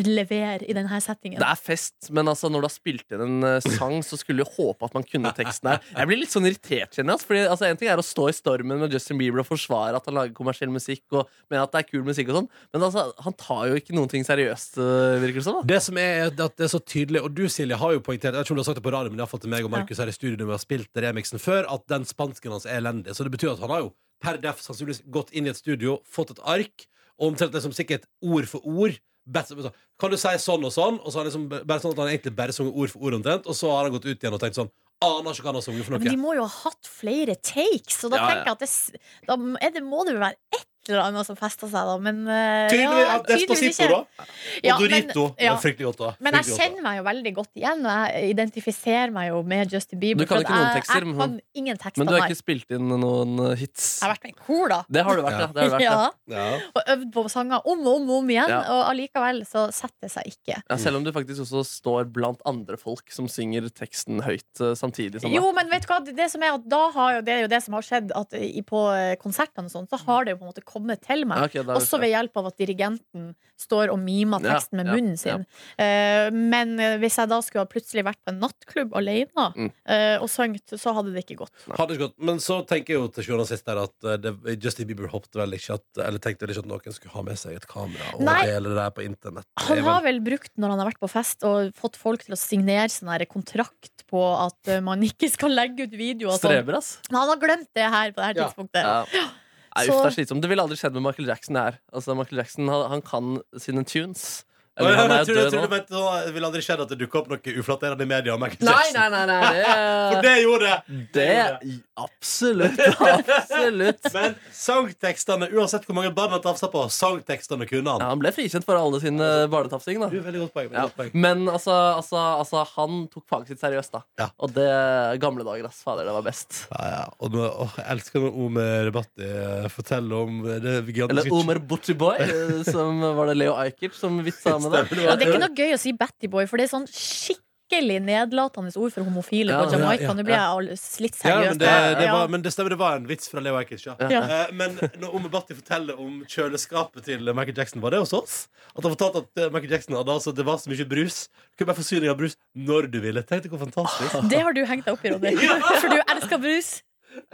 Speaker 4: levere i denne settingen.
Speaker 3: Det er fest, men altså når du har spilt inn en eh, sang, så skulle du håpe at man kunne teksten her. Jeg blir litt sånn irritert, kjenner jeg. altså, Fordi, altså, en ting er å stå i stormen med Justin Bieber og forsvare at han lager kommersiell musikk, og mener at det er kul musikk og sånn, men altså, han tar jo ikke noen ting seriøst, eh, virker det som. da
Speaker 2: Det som er er at det er så tydelig, og du Silje har jo poengtert Jeg vet ikke om du har sagt det på radio, men iallfall til meg og Markus her i studio når vi har spilt remixen før, at den spansken hans er elendig. Så det betyr at han har jo per def sannsynligvis gått inn i et studio, fått et ark, og omtrent liksom sikkert ord for ord bedt- sånn, Kan du si sånn og sånn? Og så har han liksom bare sånn at han egentlig bare sunget ord for ord omtrent, og så har han gått ut igjen og tenkt sånn Aner ikke hva han har sunget for
Speaker 4: Men de
Speaker 2: noe.
Speaker 4: må jo ha hatt flere takes, og da
Speaker 3: Ja, ja.
Speaker 4: tenker jeg at det, s- da er det, må det jo være et eller annet som fester seg, da. Men eh,
Speaker 2: Tydeligvis
Speaker 4: ja,
Speaker 2: ja, Despacito,
Speaker 4: ikke.
Speaker 2: da. Og
Speaker 4: Ja, men-
Speaker 2: Dorito. Det
Speaker 4: ja.
Speaker 2: er Fryktelig godt, da.
Speaker 4: Men jeg
Speaker 2: Fryktelig godt, da.
Speaker 4: kjenner meg jo veldig godt igjen, og jeg identifiserer meg jo med Justin Bieber.
Speaker 3: Du kan
Speaker 4: for at
Speaker 3: ikke noen
Speaker 4: jeg-
Speaker 3: tekster,
Speaker 4: Jeg
Speaker 3: men-
Speaker 4: kan ingen tekster,
Speaker 3: Men du har
Speaker 4: nei.
Speaker 3: ikke spilt inn noen eh, hits.
Speaker 4: Jeg har vært med i kor, da.
Speaker 3: Det har du vært, ja. Det har du vært, ja.
Speaker 4: Ja,
Speaker 2: Ja.
Speaker 4: og øvd på sanger om og om, og om igjen,
Speaker 3: Ja.
Speaker 4: og allikevel så setter det seg ikke.
Speaker 3: Ja,
Speaker 2: Mm.
Speaker 3: selv om du faktisk også står blant andre folk som synger teksten høyt eh, samtidig. Som
Speaker 4: Jo, men vet du hva, det som er at da har jo, det er jo det som har skjedd, at i- på eh, konsertene og sånn, så har det jo på en måte kommet til meg.
Speaker 3: Ja, ok, da-
Speaker 4: Også ved hjelp av at dirigenten står og mimer
Speaker 3: Ja,
Speaker 4: teksten med
Speaker 3: ja,
Speaker 4: munnen sin. Eh, men eh, hvis jeg da skulle ha plutselig vært på en nattklubb alene
Speaker 3: Mm.
Speaker 4: eh, og sunget, så hadde det ikke gått.
Speaker 2: Hadde ikke gått. Men så tenker jeg jo til sjuende og sist der at eh, det, Justin Bieber hoppet vel ikke at, Eller tenkte vel ikke at noen skulle ha med seg et kamera og
Speaker 4: Nei.
Speaker 2: dele det der på internett.
Speaker 4: Han
Speaker 2: Det er
Speaker 4: har
Speaker 2: vel-
Speaker 4: vel brukt, når han har vært på fest, og fått folk til å signere sånn her kontrakt på at eh, man ikke skal legge ut videoer. og Sånn.
Speaker 3: Streber, ass.
Speaker 4: Men han har glemt det her på det her
Speaker 2: Ja.
Speaker 4: tidspunktet.
Speaker 3: Ja. Nei, uff,
Speaker 4: Så-
Speaker 3: det er slitsomt. Det ville aldri skjedd med Michael Jackson. det Her. Altså, Michael Jackson han, han kan sine tunes.
Speaker 2: Å,
Speaker 3: Eller
Speaker 2: ja,
Speaker 3: han
Speaker 2: men
Speaker 3: er
Speaker 2: jeg tror, jeg tror,
Speaker 3: død
Speaker 2: du
Speaker 3: nå.
Speaker 2: vet, nå vil aldri skjedd at det dukker opp noe uflatterende i media om Michael
Speaker 3: Nei,
Speaker 2: Jackson.
Speaker 3: nei, nei, nei.
Speaker 2: For
Speaker 3: Det,
Speaker 2: det gjorde det!
Speaker 3: det Absolutt. Absolutt.
Speaker 2: Men sangtekstene, uansett hvor mange barn han tafsa på, sangtekstene kunne
Speaker 3: Ja,
Speaker 2: han.
Speaker 3: han ble frikjent for alle sine barnetafsing,
Speaker 2: Du,
Speaker 3: da.
Speaker 2: veldig godt poeng. Veldig
Speaker 3: Ja.
Speaker 2: godt poeng.
Speaker 3: Men altså, altså, altså, han tok faget sitt seriøst, da.
Speaker 2: Ja.
Speaker 3: Og det gamle dager, ass. Fader, det var best.
Speaker 2: Ja, ja. Og nå, åh, jeg elsker når Omer Batti eh, forteller om det
Speaker 3: Eller
Speaker 2: gigantiske
Speaker 3: Omer Butchie-boy, eh, som var det Leo Ajkic som vitsa med det.
Speaker 4: Ja, det er ikke noe gøy å si Battyboy, for det er sånn skikkelig nedlatende ord for homofile
Speaker 3: Ja,
Speaker 4: på
Speaker 3: ja,
Speaker 4: Jamaica.
Speaker 2: ja,
Speaker 4: Nå blir jeg all- litt
Speaker 2: Ja,
Speaker 4: seriøs.
Speaker 2: men det, det
Speaker 4: Eh, Ja.
Speaker 2: var, men det stemmer, det var en vits fra Leo Ajkic. Ja.
Speaker 4: Ja.
Speaker 2: Eh, Men når Ome Bhatti forteller om kjøleskapet til Michael Jackson, var det hos oss? At han fortalte at eh, Michael Jackson hadde altså, det var så mye brus. Du kunne bare forsyne deg av brus når du ville. Tenk deg hvor fantastisk.
Speaker 4: Det har du hengt deg opp i, Ronny. For du elsker brus.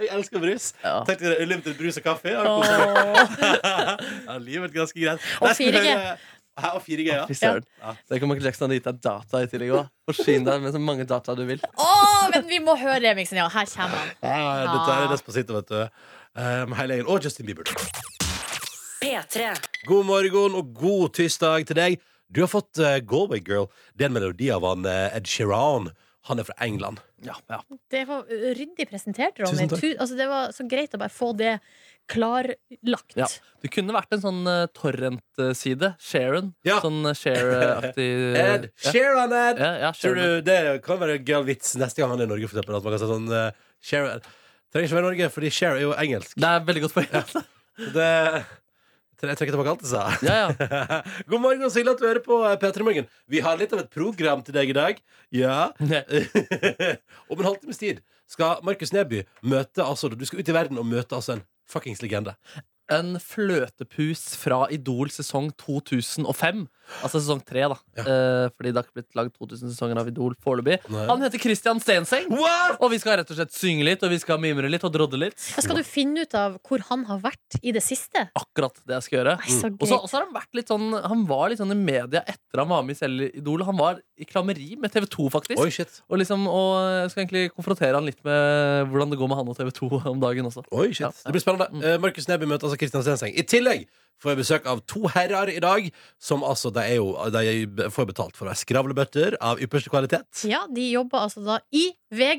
Speaker 2: Jeg elsker brus.
Speaker 3: Ja.
Speaker 2: Tenk deg det, Unlimited brus og kaffe. Ja,
Speaker 4: Åh.
Speaker 2: koselig. Ja, livet er ganske greit.
Speaker 4: Og
Speaker 2: Nei, skal vi
Speaker 4: 4G.
Speaker 2: høre- Hæ, og 4G, ja.
Speaker 3: Fy søren.
Speaker 2: Ja.
Speaker 3: Tenk om Michael Jackson hadde gitt deg data i tillegg òg. Forsyn deg med så mange data du vil.
Speaker 4: Å, men vi må høre remixen, ja. Her kommer han.
Speaker 2: Ja, Dette er Despacito, vet du. Eh, med hele gjengen. Og Justin Bieber.
Speaker 1: P3.
Speaker 2: God morgen og god tirsdag til deg. Du har fått eh, Galway Girl. Det er en melodi av han eh, Ed Sheeran. Han er fra England.
Speaker 3: Ja, ja.
Speaker 4: Det var øh, ryddig presentert, Ronny.
Speaker 2: Tusen takk.
Speaker 4: Tu- Altså, det var så greit å bare få det klarlagt.
Speaker 3: Ja. Det kunne vært en sånn uh, torrent-side. Sharon.
Speaker 2: Ja.
Speaker 3: Sånn eh, share-aktig
Speaker 2: Ed Sheeran, Ed!
Speaker 3: Ja, ja,
Speaker 2: Tror
Speaker 3: Sharon.
Speaker 2: du det kan være en gøy vits neste gang han er i Norge, for eksempel? At man kan si sånn eh, Sheeran Trenger ikke være i Norge, fordi Share er jo engelsk.
Speaker 3: Det er veldig godt poeng. Ja.
Speaker 2: Det, jeg trekker tilbake alt jeg sa.
Speaker 3: Ja,
Speaker 2: God morgen, så hyggelig at du hører på eh, P3 Morgen. Vi har litt av et program til deg i dag. Ja. Om en halvtimes tid skal Markus Neby møte altså, Du skal ut i verden og møte altså en fuckings legende.
Speaker 3: En fløtepus fra Idol sesong 2005. Altså sesong 3, da.
Speaker 2: Ja.
Speaker 3: Eh, fordi det har ikke blitt lagd 2000 sesonger av Idol foreløpig.
Speaker 2: Nei.
Speaker 3: Han heter Christian Stenseng.
Speaker 2: What?!
Speaker 3: Og vi skal rett og slett synge litt, og vi skal mimre litt og drodde litt.
Speaker 4: Ja, Skal du finne ut av hvor han har vært i det siste?
Speaker 3: Akkurat det jeg skal gjøre.
Speaker 4: Nei,
Speaker 2: Mm.
Speaker 4: så
Speaker 3: Og så
Speaker 4: gøy.
Speaker 3: og så har han vært litt sånn Han var litt sånn i media etter han var med i selv Idol. Han var i klammeri med TV2, faktisk.
Speaker 2: Oi, shit.
Speaker 3: Og, liksom, og jeg skal egentlig konfrontere han litt med hvordan det går med han og TV2 om dagen også.
Speaker 2: Oi, shit.
Speaker 3: Ja.
Speaker 2: Det blir spennende. Eh, Markus Neby møter altså Kristian Stenseng. I tillegg får jeg besøk av to herrer i dag, som altså De, er jo, de får betalt for å være skravlebøtter av ypperste kvalitet.
Speaker 4: Ja, de jobber altså da i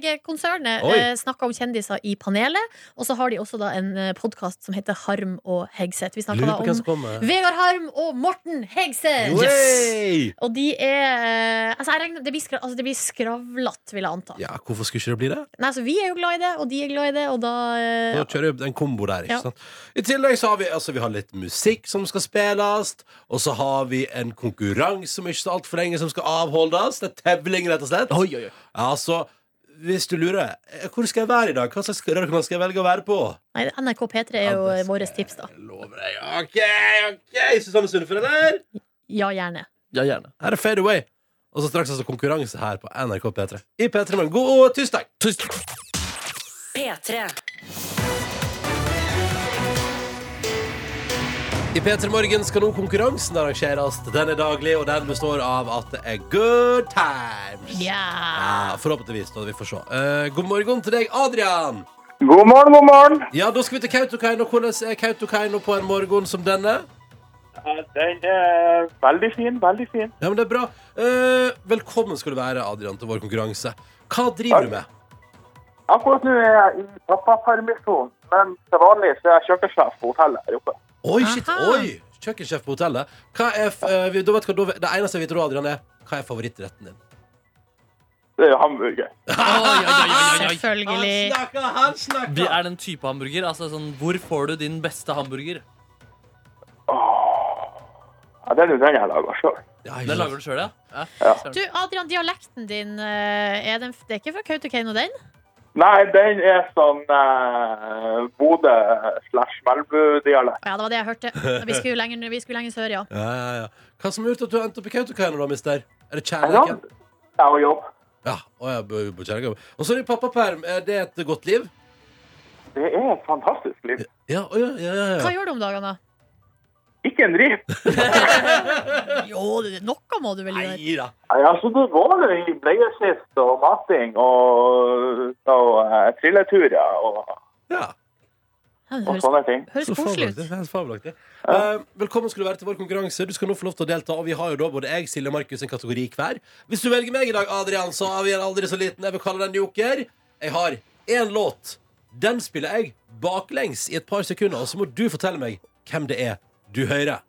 Speaker 4: VG-konsernet.
Speaker 2: Oi.
Speaker 4: Eh, Snakka om kjendiser i panelet. Og så har de også da en podkast som heter Harm og Hegseth. Vi snakka
Speaker 2: Lurer
Speaker 4: da
Speaker 2: på hvem
Speaker 4: om
Speaker 2: som kommer.
Speaker 4: Vegard Harm og Morten Hegseth!
Speaker 2: Yes!
Speaker 4: Og de er eh, Altså, jeg regner, det, blir skra, altså det blir skravlatt, vil jeg anta.
Speaker 2: Ja, hvorfor skulle ikke det bli det?
Speaker 4: Nei, så Vi er jo glad i det, og de er glad i det, og da eh,
Speaker 2: Da kjører vi en kombo der, ikke
Speaker 4: Ja.
Speaker 2: sant? I tillegg så har vi, altså, vi har litt musikk som skal spilles, og så har vi en konkurranse som ikke så altfor lenge som skal avholdes. Det er tevling, rett og slett.
Speaker 3: Oi, oi, oi.
Speaker 2: Ja, så hvis du lurer, eh, hvor skal jeg være i dag? Hva slags radiokanal skal jeg velge å være på?
Speaker 4: Nei, NRK P3 er
Speaker 2: Ja, det
Speaker 4: jo eh,
Speaker 2: skal
Speaker 4: våre tips, da.
Speaker 2: Jeg lover deg. OK, OK! Susanne Sundfør, eller?
Speaker 4: Ja, gjerne.
Speaker 3: Ja, gjerne.
Speaker 2: Her er Fade Away. Og så straks altså konkurranse her på NRK P3. I P3 Morgen. God tirsdag!
Speaker 1: P3.
Speaker 2: I P3 Morgen skal nå konkurransen arrangeres. Den er daglig, og den består av at det er good times. Ja, Ah, forhåpentligvis, da. Vi får se. Eh, god morgen til deg, Adrian.
Speaker 7: God morgen, god morgen.
Speaker 2: Ja, da skal vi til Kautokeino. Hvordan er Kautokeino på en morgen som denne?
Speaker 7: Eh, Den er veldig fin, veldig fin.
Speaker 2: Ja, men det er bra. Eh, velkommen skal du være, Adrian, til vår konkurranse. Hva driver du med?
Speaker 7: Akkurat nå er jeg i pappapermisjon, men til vanlig så er jeg kjøkkensjef på hotellet her oppe.
Speaker 2: Oi, shit,
Speaker 4: Aha.
Speaker 2: oi! Kjøkkensjef på hotellet. Hva er, f- eh, vi- da vet hva, da, vet- det eneste jeg vet, da, Adrian, er hva er favorittretten din?
Speaker 7: Det er jo hamburger.
Speaker 2: Ah!
Speaker 3: Oi, oi, oi, oi, oi.
Speaker 4: Selvfølgelig.
Speaker 2: snakker, han snakker!
Speaker 3: Vi er den type hamburger. Altså sånn, hvor får du din beste hamburger?
Speaker 7: Ja, det er jo den jeg lager sjøl.
Speaker 2: Ja,
Speaker 3: Den
Speaker 2: ikke sant.
Speaker 3: lager du sjøl, ja? ja. søren.
Speaker 4: Du, Adrian, dialekten din, eh, er den, det er ikke fra Kautokeino, den?
Speaker 7: Nei, den er sånn eh, Bodø slash Melbu-dialekt.
Speaker 4: Ja, det var det jeg hørte. Vi skulle lenger, vi skulle lenger sør, ja.
Speaker 2: Ja, ja, ja. Hva som har gjort at du har endt opp i Kautokeino, da, mister? Er det
Speaker 7: Ja,
Speaker 2: kjærligheten?
Speaker 7: det er jo jobb.
Speaker 2: Ja, og jeg bor på kjærlighet. Og så er det pappaperm. Er det et godt liv?
Speaker 7: Det er et fantastisk liv.
Speaker 2: Ja, å ja, ja, ja,
Speaker 4: Hva
Speaker 2: ja.
Speaker 4: gjør du om dagene? da?
Speaker 7: Ikke en drit.
Speaker 4: Jo, det- noe må du vel gjøre.
Speaker 2: Nei da.
Speaker 7: Nei, altså, det var jo i bleieskift og mating og, og eh, trilleturer og,
Speaker 2: Ja,
Speaker 4: Ja, det
Speaker 7: og
Speaker 4: Høres,
Speaker 7: sånne ting.
Speaker 4: høres
Speaker 2: så
Speaker 4: koselig
Speaker 2: fabelaktig.
Speaker 4: ut.
Speaker 2: Det er helt fabelaktig. Eh, velkommen skal du være til vår konkurranse. Du skal nå få lov til å delta, og vi har jo da både jeg, Silje og Markus en kategori hver. Hvis du velger meg i dag, Adrian, så har vi en aldri så liten. Jeg vil kalle den joker. Jeg har én låt. Den spiller jeg baklengs i et par sekunder, og så må du fortelle meg hvem det er du hører.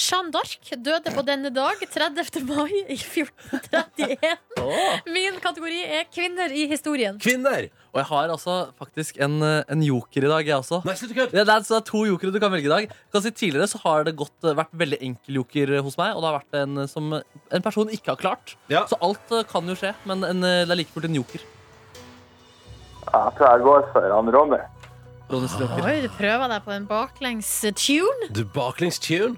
Speaker 4: Jeanne d'Arc døde på denne dag, 30. mai i 1431.
Speaker 3: Åh.
Speaker 4: Min kategori er kvinner i historien.
Speaker 2: Kvinner!
Speaker 3: Og jeg har altså faktisk en, eh, en joker i dag, jeg også.
Speaker 2: Nei, slutt å kødde!
Speaker 3: Ja, det, er, så det er to jokere du kan velge i dag. Jeg Kan si tidligere så har det gått, eh, vært veldig enkel joker eh, hos meg, og det har vært en eh, som eh, en person ikke har klart.
Speaker 2: Ja.
Speaker 3: Så alt eh, kan jo skje, men en, eh, det er like fullt en joker.
Speaker 7: Ja, Jeg tror Ah, jeg går for han Ronny.
Speaker 3: Ronny sin joker.
Speaker 4: Oi, du prøver deg på en baklengs tune.
Speaker 2: Du baklengs tune.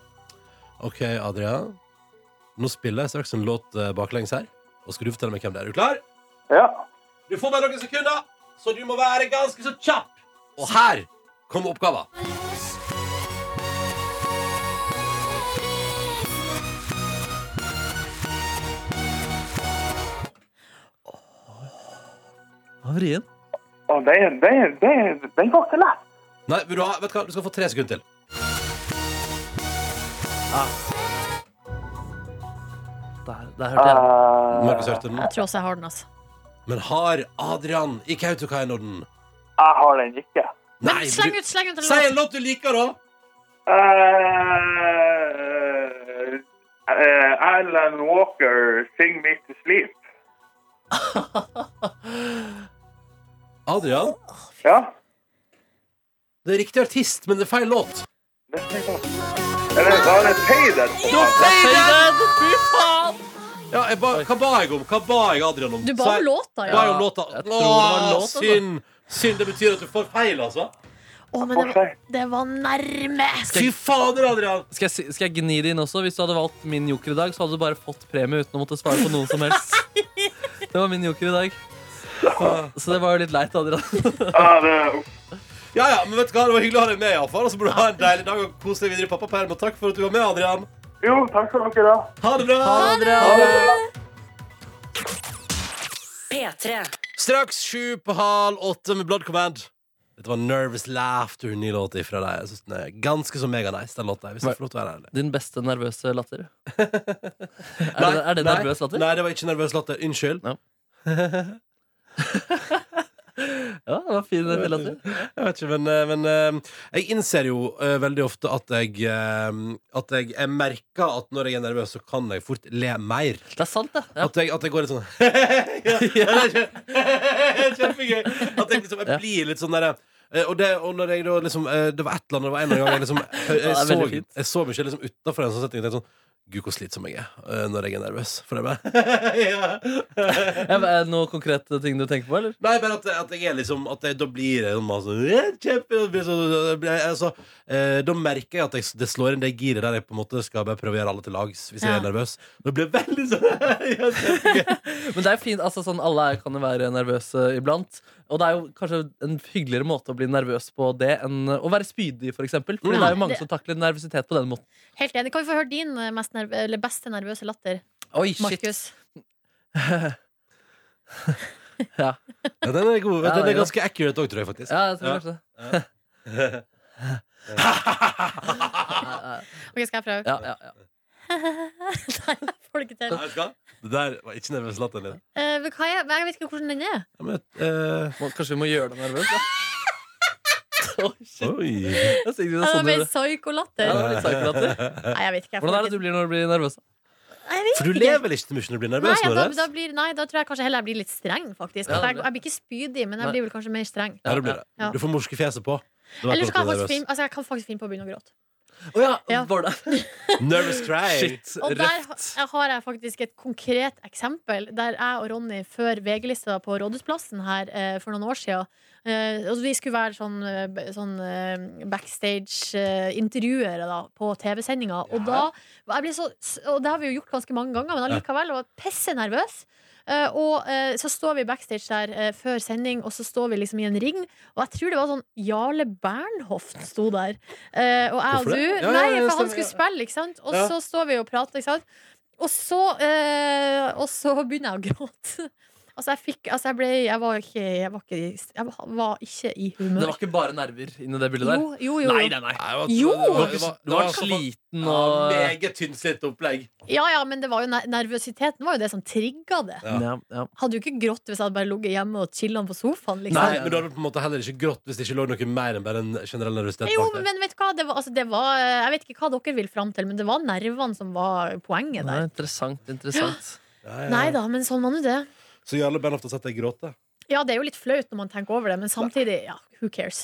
Speaker 2: OK, Adrian. Nå spiller jeg straks en låt eh, baklengs her. Og skal du fortelle meg hvem det er. Er du klar?
Speaker 7: Ja.
Speaker 2: Du får bare noen sekunder, så du må være ganske så kjapp. Og her kommer oppgaven.
Speaker 3: Ah, vrien.
Speaker 7: Og den, den, den, den var ikke lett.
Speaker 2: Nei, vil du, ha, vet du, hva? du skal få tre sekunder til.
Speaker 3: Der. Der hørte
Speaker 7: Ah.
Speaker 3: jeg den.
Speaker 7: Eh,
Speaker 2: Markus hørte den.
Speaker 4: Jeg tror også jeg har den, altså.
Speaker 2: Men har Adrian i Kautokeino den?
Speaker 7: Jeg har den ikke.
Speaker 2: Nei,
Speaker 4: Men
Speaker 2: men
Speaker 4: sleng
Speaker 2: du,
Speaker 4: ut, sleng ut en
Speaker 2: si en
Speaker 4: låt.
Speaker 2: låt du liker, da!
Speaker 7: Eh, eh, Alan Walker, 'Sing Me To Sleep'.
Speaker 2: Adrian?
Speaker 7: Ja,
Speaker 2: Det er riktig artist, men det er feil låt.
Speaker 7: det er sant. Eller da er det Payden.
Speaker 3: Fy faen!
Speaker 2: Ja, jeg ba, hva ba jeg om? Hva ba jeg Adrian om?
Speaker 4: Du ba
Speaker 2: Si-
Speaker 4: om låta,
Speaker 2: Ba
Speaker 4: ja.
Speaker 2: jeg om låta?
Speaker 3: Jeg tror det var
Speaker 2: Åh,
Speaker 3: låta, da.
Speaker 2: synd. synd! Det betyr at du får feil, altså.
Speaker 4: Å, men det var, det var nærme!
Speaker 2: Fy fader, Adrian!
Speaker 3: Skal jeg, si- skal jeg gni det inn også? Hvis du hadde valgt min joker i dag, så hadde du bare fått premie uten å måtte svare på noen som helst. Det var min joker i dag. Så det var jo litt leit, Adrian.
Speaker 7: Ja, det-
Speaker 2: Ja, ja, men vet du hva? Det var hyggelig å ha deg med, iallfall. Og så burde du ha en deilig dag og kose deg videre i pappaperm. Og takk for at du var med, Adrian.
Speaker 7: Jo, takk skal dere ha.
Speaker 2: Ha det bra!
Speaker 1: P3.
Speaker 2: Straks sju på halv åtte med Blood Command. Dette var Nervous Laughter, ny låt ifra deg. Jeg synes den er ganske så meganice, den låta. her, Hvis jeg får lov til å være ærlig.
Speaker 3: Din beste nervøse latter. Er det, er det
Speaker 2: nei,
Speaker 3: nervøs latter?
Speaker 2: Nei, det var ikke nervøs latter. Unnskyld.
Speaker 3: Ja, det var fin latter.
Speaker 2: Jeg vet ikke, men, eh, men eh, jeg innser jo eh, veldig ofte at jeg eh, At jeg, jeg merker at når jeg er nervøs, så kan jeg fort le mer.
Speaker 3: Det er sant, det. Ja.
Speaker 2: At, jeg, at jeg går litt sånn ja, det er kjempe- Kjempegøy! At jeg liksom jeg blir litt sånn derre eh, og, det, og når jeg da liksom eh, Det var et eller annet, det var en eller annen gang jeg liksom Jeg,
Speaker 3: Ja,
Speaker 2: jeg,
Speaker 3: det er
Speaker 2: så,
Speaker 3: veldig fint.
Speaker 2: jeg så meg selv liksom utafor en sånn setting og tenkte sånn Gud, hvor slitsom jeg er eh, når jeg er nervøs. For det bare ja.
Speaker 3: Er det noen konkrete ting du tenker på, eller?
Speaker 2: Nei, bare at, at jeg er liksom At jeg, da blir jeg sånn altså, kjempe, blir så, blir jeg, altså, eh, Da merker jeg at jeg, det slår inn det giret der jeg på en måte skal bare prøve å gjøre alle til lags hvis jeg
Speaker 4: Ja.
Speaker 2: er nervøs. Da blir jeg veldig sånn ja,
Speaker 3: Men det er jo fint, altså sånn Alle er- kan jo være nervøse iblant. Og det er jo kanskje en hyggeligere måte å bli nervøs på det enn å være spydig, f.eks. For eksempel. Fordi Mm. det er jo mange
Speaker 4: Det-
Speaker 3: som takler nervøsitet på den måten.
Speaker 4: Helt enig. Kan vi få høre din eh, mest nerv eller beste nervøse latter,
Speaker 3: Oi, shit.
Speaker 4: Markus?
Speaker 3: Ja,
Speaker 2: Ja, den er god. den
Speaker 3: Ja, det
Speaker 2: er
Speaker 3: er god.
Speaker 2: ganske accurate òg, tror jeg. faktisk
Speaker 3: ja jeg tror
Speaker 2: Ja.
Speaker 3: kanskje det.
Speaker 4: Ok, skal jeg prøve?
Speaker 3: Ja, ja, ja.
Speaker 4: Nei, jeg får det ikke til.
Speaker 2: Nei, vet du hva? Det der var ikke nervøs latteren din.
Speaker 4: Eh, men hva er, men jeg vet ikke hvordan den er.
Speaker 2: Ja, men, eh,
Speaker 3: Må, kanskje vi må gjøre deg nervøs? Da? Oi, shit.
Speaker 2: oi.
Speaker 3: Jeg synes
Speaker 4: Det
Speaker 3: det er
Speaker 4: var
Speaker 3: sånn
Speaker 4: bare
Speaker 3: du- Ja,
Speaker 4: psyko-latter.
Speaker 3: det var litt sarkelatter.
Speaker 4: Eh, Nei, jeg vet ikke. Jeg
Speaker 3: Hvordan er
Speaker 4: får
Speaker 3: det du blir når du blir nervøs? da?
Speaker 4: Jeg vet
Speaker 2: For du
Speaker 4: ikke.
Speaker 2: lever vel ikke til mye når du blir nervøs?
Speaker 4: Nei, da,
Speaker 2: Nordnes?
Speaker 4: da blir, nei, da tror jeg kanskje heller jeg blir litt streng, faktisk.
Speaker 3: Ja.
Speaker 4: For Jeg, jeg blir ikke spydig, men
Speaker 3: Nei.
Speaker 4: jeg blir vel kanskje mer streng.
Speaker 2: ja, det blir det.
Speaker 4: Ja.
Speaker 2: Du får morskefjeset på. Da vet
Speaker 4: Eller
Speaker 2: du
Speaker 4: så
Speaker 2: at
Speaker 4: kan
Speaker 2: du
Speaker 4: jeg,
Speaker 2: er
Speaker 4: faktisk finne, altså jeg kan faktisk finne på å begynne å gråte.
Speaker 3: Å ja,
Speaker 4: Ja.
Speaker 3: Var det?
Speaker 2: Nervous cry.
Speaker 3: Shit,
Speaker 4: Og der
Speaker 3: røft.
Speaker 4: ha- har jeg faktisk et konkret eksempel. Der jeg og Ronny før VG-lista på Rådhusplassen her eh, for noen år siden eh, og Vi skulle være sånn, eh, b- sånn eh, backstage-intervjuere da på TV-sendinga. Og da jeg ble så, s- Og det har vi jo gjort ganske mange ganger, men allikevel jeg var pisse nervøs. Eh, og eh, så står vi backstage der eh, før sending, og så står vi liksom i en ring. Og jeg tror det var sånn Jarle Bernhoft sto der. Eh, og jeg og
Speaker 2: Hvorfor
Speaker 4: du.
Speaker 2: det? Ja, ja,
Speaker 4: Nei,
Speaker 2: ja,
Speaker 4: for han
Speaker 2: stemmer,
Speaker 4: skulle
Speaker 2: ja.
Speaker 4: spille, ikke sant? Og
Speaker 2: Ja.
Speaker 4: så står vi og prater, ikke sant? Og så, eh, og så begynner jeg å gråte. Altså, jeg fikk Altså, jeg ble Jeg var ikke, jeg var ikke, i- jeg var ikke i
Speaker 3: Det
Speaker 4: humør.
Speaker 3: var ikke bare nerver inni det bildet der?
Speaker 4: Jo, jo, jo. jo.
Speaker 2: nei.
Speaker 4: Jo!
Speaker 2: Det var,
Speaker 3: Du
Speaker 2: det var,
Speaker 3: var, sliten og
Speaker 2: Meget tynnslitt opplegg.
Speaker 4: Ja, ja, men det var jo ner- nervøsiteten var jo det som trigga det.
Speaker 2: Ja.
Speaker 3: Ja, ja.
Speaker 4: Hadde jo ikke grått hvis jeg hadde bare ligget hjemme og chilla på sofaen, liksom.
Speaker 2: Nei, men du hadde på en måte heller ikke grått hvis det ikke lå noe mer enn bare en generell nervøsitet
Speaker 4: Jo,
Speaker 2: bak der.
Speaker 4: men vet du hva? Det var, altså, det var, jeg vet ikke hva dere vil fram til, men det var nervene som var poenget
Speaker 3: Nei,
Speaker 4: der.
Speaker 3: interessant, interessant.
Speaker 2: Ja, ja.
Speaker 4: Nei da, men sånn var nå det.
Speaker 2: Så Jarle Bernhoft har sett deg gråte?
Speaker 4: Ja, det er jo litt flaut når man tenker over det, men samtidig, ja, who cares?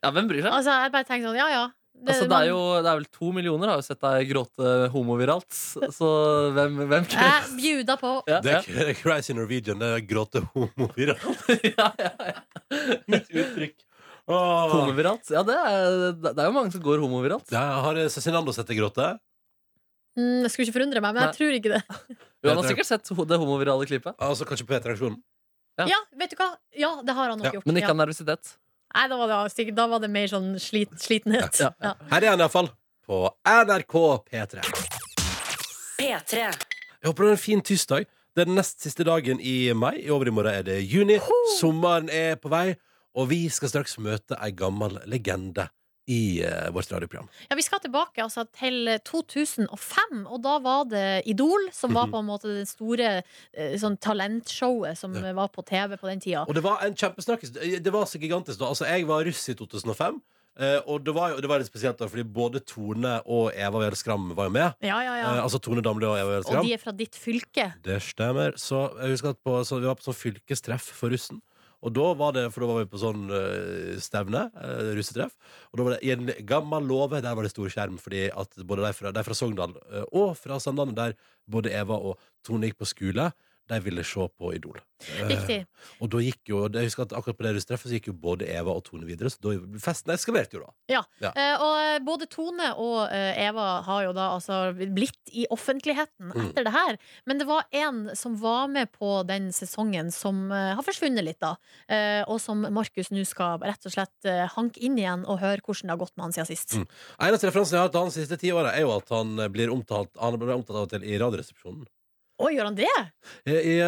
Speaker 3: Ja, hvem bryr seg?
Speaker 4: Altså, jeg bare tenker sånn, ja ja. Det,
Speaker 3: Altså, det, er jo, det er vel to millioner har jo sett deg gråte homoviralt, så hvem, hvem
Speaker 4: Jeg bjuda på.
Speaker 3: Ja,
Speaker 2: Det
Speaker 3: ja.
Speaker 2: er det er crazy Norwegian. Det er gråte homoviralt.
Speaker 3: Ja, ja, ja.
Speaker 2: Mitt uttrykk. Åh.
Speaker 3: Homoviralt? Ja, det er, det er jo mange som går homoviralt.
Speaker 2: Ja, har Cezinando sett deg gråte?
Speaker 4: Mm, jeg skulle ikke forundre meg, men
Speaker 3: Nei.
Speaker 4: jeg tror ikke det.
Speaker 3: Hun har sikkert sett ho- det homovirale klippet,
Speaker 2: Altså kanskje på P3-aksjonen?
Speaker 3: Ja.
Speaker 4: Ja, vet du hva? Ja, det har han nok
Speaker 2: Ja,
Speaker 4: gjort.
Speaker 3: men ikke
Speaker 4: ja.
Speaker 3: av nervøsitet.
Speaker 4: Nei, da var det, sikkert, da var det mer sånn slit, slitenhet.
Speaker 3: Ja.
Speaker 4: Ja.
Speaker 2: Her er han iallfall. På NRK P3.
Speaker 1: P3.
Speaker 2: Jeg håper det er en fin tirsdag. Det er den nest siste dagen i mai. I overmorgen er det juni. Sommeren er på vei, og vi skal straks møte ei gammel legende i eh, vårt radioprogram.
Speaker 4: Ja, Vi skal tilbake altså, til 2005, og da var det Idol, som
Speaker 2: Mhm.
Speaker 4: var på en måte det store eh, sånn, talentshowet som
Speaker 2: Ja.
Speaker 4: eh, var på TV på den tida.
Speaker 2: Og det var en kjempesnakkis. Det var så gigantisk da. Altså, jeg var russ i 2005. eh, og det var jo det var litt spesielt da, fordi både Tone og Eva Weel Skram var jo med.
Speaker 4: Ja, ja, ja.
Speaker 2: Eh, altså Tone Damli og Eva Weel
Speaker 4: Og
Speaker 2: Skram.
Speaker 4: de er fra ditt fylke.
Speaker 2: Det stemmer. Så jeg husker at på, så vi var på sånn fylkestreff for russen. Og da var det, for da var vi på sånn eh, stevne, eh, russetreff. Og da var det i en gammel låve, der var det stor skjerm, fordi at både de fra, de fra Sogndal eh, og fra Sandane, der både Eva og Tone gikk på skole, de ville se på Idol. Eh,
Speaker 4: Riktig.
Speaker 2: og da gikk jo, jeg husker at akkurat på det russetreffet så gikk jo både Eva og Tone videre, så da festen eskalerte jo da.
Speaker 4: Eh, og eh, både Tone og eh, Eva har jo da altså blitt i offentligheten
Speaker 2: Mm.
Speaker 4: etter det her. Men det var en som var med på den sesongen som eh, har forsvunnet litt, da. Eh, og som Markus nå skal rett og slett eh, hanke inn igjen og høre hvordan det har gått med han siden sist.
Speaker 2: Mm. Eneste referansen jeg har til han de siste ti årene er jo at han eh, blir omtalt, han ble omtalt av og til i radioresepsjonen.
Speaker 4: Å, gjør han det?
Speaker 2: Eh, eh,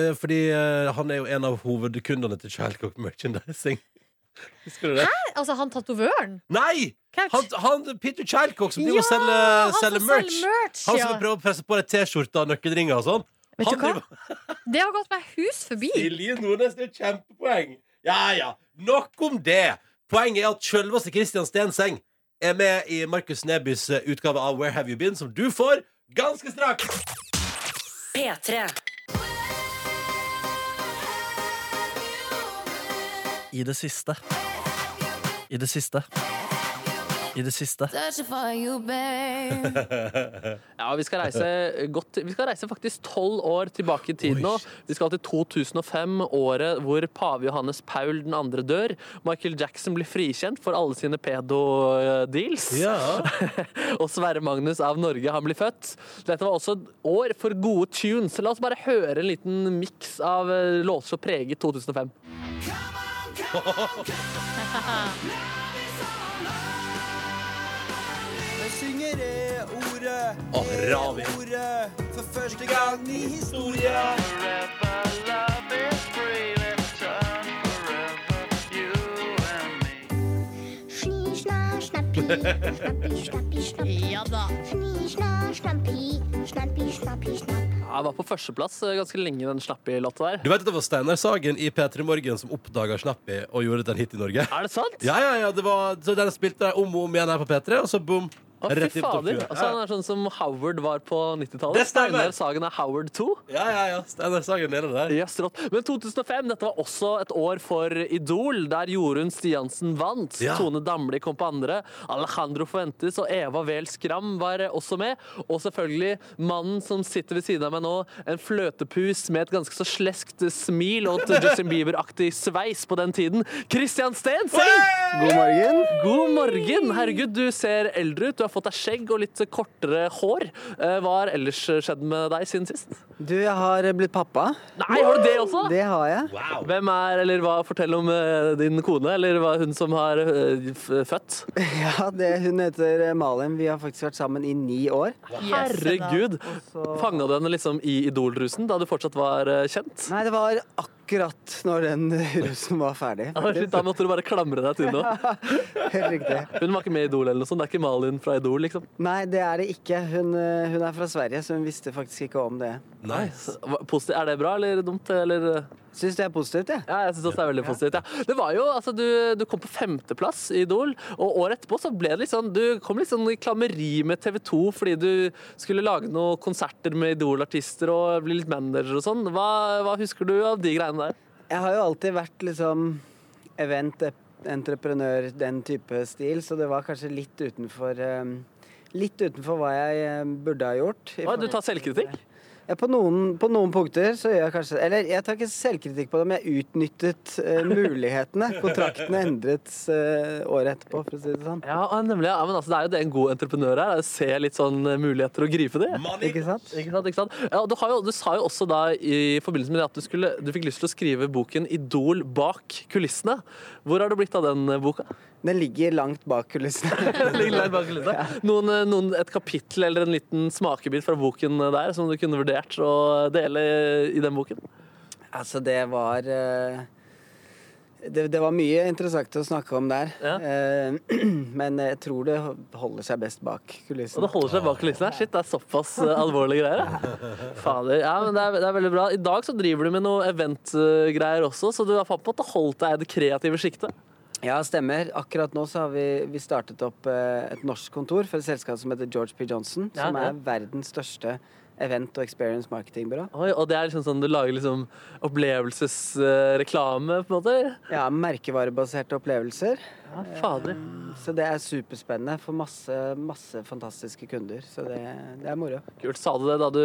Speaker 2: eh, Fordi eh, han er jo en av hovedkundene til Childcock Merchandising. Husker du det?
Speaker 4: Altså han tatovøren?
Speaker 2: Nei!
Speaker 4: Couch?
Speaker 2: Han, han, Peter Childcock som driver og
Speaker 4: Ja,
Speaker 2: selger,
Speaker 4: han som
Speaker 2: selger merch.
Speaker 4: selger merch,
Speaker 2: Han
Speaker 4: ja.
Speaker 2: som prøver å presse på deg T-skjorter og nøkkelringer og sånn.
Speaker 4: Vet du
Speaker 2: Han
Speaker 4: hva?
Speaker 2: driver-
Speaker 4: Det har gått meg hus forbi.
Speaker 2: Silje Nordnes, det er et kjempepoeng. Ja, ja. Nok om det. Poenget er at selveste Christian Stenseng er med i Markus Nebys eh, utgave av Where Have You Been, som du får ganske straks.
Speaker 1: P3.
Speaker 8: I det siste. I det siste. I det siste.
Speaker 3: Ja, vi skal reise godt Vi skal reise faktisk tolv år tilbake i tid nå. Vi skal til 2005, året hvor pave Johannes Paul 2. dør. Michael Jackson blir frikjent for alle sine pedo-deals.
Speaker 2: Ja.
Speaker 3: Og Sverre Magnus av Norge, han blir født. Dette var også et år for gode tunes. La oss bare høre en liten miks av eh, låter som preget 2005.
Speaker 9: Jeg synger E-ordet,
Speaker 2: Åh, Ravi.
Speaker 9: E-ordet, for første gang i historien.
Speaker 10: Sni, sna, snappi, snappi, snappi, snappi.
Speaker 4: Ja da.
Speaker 10: Sni, sna, snappi, snappi, snappi, snappi.
Speaker 3: Ja, jeg var på førsteplass eh, ganske lenge, den snappy låta der.
Speaker 2: Du vet at det var Steinar Sagen i P3 Morgen som oppdaga Snappy og gjorde det til en hit i Norge?
Speaker 3: Er det sant?
Speaker 2: Ja, ja, ja, det var, så Den spilte de om og om igjen her på P3, og så boom.
Speaker 3: Å,
Speaker 2: Rett
Speaker 3: fy
Speaker 2: i topp
Speaker 3: fader.
Speaker 2: 20.
Speaker 3: Altså, han er sånn som Howard var på 90-tallet.
Speaker 2: Det stemmer.
Speaker 3: Steinar Sagen er Howard 2.
Speaker 2: Ja, ja, ja. Steinar Sagen nede der.
Speaker 3: Yes, rått. Men 2005, dette var også et år for Idol, der Jorunn Stiansen vant.
Speaker 2: Ja.
Speaker 3: Tone Damli kom på andre. Alejandro Fuentes og Eva Wehl Skram var også med. Og selvfølgelig mannen som sitter ved siden av meg nå, en fløtepus med et ganske så sleskt smil og et Justin Bieber-aktig sveis på den tiden. Christian Stenseng! God morgen. God morgen. Herregud, du ser eldre ut. Du har fått deg skjegg og litt kortere hår. Eh, Hva har ellers skjedd med deg siden sist?
Speaker 8: Du, jeg har blitt pappa.
Speaker 3: Nei, har du det også?
Speaker 8: Det har jeg.
Speaker 2: Wow.
Speaker 3: Hvem er, eller hva, fortell om eh, din kone, eller hva, hun som har eh, f født.
Speaker 8: Ja, det, hun heter Malin. Vi har faktisk vært sammen i ni år.
Speaker 3: Herregud!
Speaker 8: Så-
Speaker 3: Fanga du henne liksom i Idol-rusen da du fortsatt var eh, kjent?
Speaker 8: Nei, det var akkurat når den russen var ferdig.
Speaker 3: Ja, shit, Da måtte du bare klamre deg til noe.
Speaker 8: Helt riktig.
Speaker 3: Hun var ikke med i Idol eller noe sånt. Det er ikke Malin fra Idol, liksom.
Speaker 8: Nei, det er det ikke. Hun, eh, hun er fra Sverige, så hun visste faktisk ikke om det.
Speaker 2: Nice.
Speaker 3: Hva- Positiv. Er det bra eller dumt? Eller? eh?
Speaker 8: Syns det er positivt, jeg.
Speaker 3: Ja, jeg synes også det er veldig positivt. Ja. Det var jo, altså, du, du kom på femteplass i Idol, og året etterpå så ble det litt sånn, du kom litt sånn i klammeri med TV 2 fordi du skulle lage noen konserter med Idol-artister og bli litt manager og sånn. Hva, hva husker du av de greiene der?
Speaker 8: Jeg har jo alltid vært liksom event eh, entreprenør, den type stil, så det var kanskje litt utenfor eh, Litt utenfor hva jeg eh, burde ha gjort. i
Speaker 3: Oi, du
Speaker 8: forhold-
Speaker 3: tar selvkritikk?
Speaker 8: Ja, på, noen, på noen punkter så gjør jeg kanskje Eller jeg tar ikke selvkritikk på det, men jeg utnyttet eh, mulighetene. Kontraktene endret eh, året etterpå, for å si det sånn.
Speaker 3: Ja, og nemlig. Ja, men altså, det er jo det en god entreprenør er. er å Se litt sånn eh, muligheter og gripe det.
Speaker 8: Ikke sant?
Speaker 3: Ikke sant, ikke sant? Ja, og du, har jo, du sa jo også da i forbindelse med det at du, skulle, du fikk lyst til å skrive boken 'Idol bak kulissene'. Hvor har det blitt av den eh, boka?
Speaker 8: Den ligger langt bak kulissene.
Speaker 3: Ligger langt bak kulissene. Noen, eh, noen, et kapittel eller en liten smakebit fra boken der som du kunne vurdert å dele i den boken?
Speaker 8: altså, det var eh,
Speaker 11: Det, det var mye interessant å snakke om der. Eh, Men jeg tror det holder seg best bak
Speaker 3: Og
Speaker 11: kulissene.
Speaker 3: det holder seg bak kulissene. Shit, det er såpass eh, alvorlige greier. ja. Fader. Ja, men det er, det er veldig bra. I dag så driver du med noe eventgreier også, så du har på en måte holdt deg i det kreative sjiktet.
Speaker 11: Ja, stemmer. Akkurat nå så har vi, vi startet opp eh, et norsk kontor for et selskap som heter George P. Johnson,
Speaker 3: Ja,
Speaker 11: som
Speaker 3: det.
Speaker 11: er verdens største event- og experience marketingbyrå.
Speaker 3: Oi, og det er liksom sånn du lager liksom opplevelsesreklame, på en måte?
Speaker 11: Ja, merkevarebaserte opplevelser.
Speaker 3: Ja, fader.
Speaker 11: Eh, Så det er superspennende for masse, masse fantastiske kunder. Så det, det er moro.
Speaker 3: Kult. Sa du det da du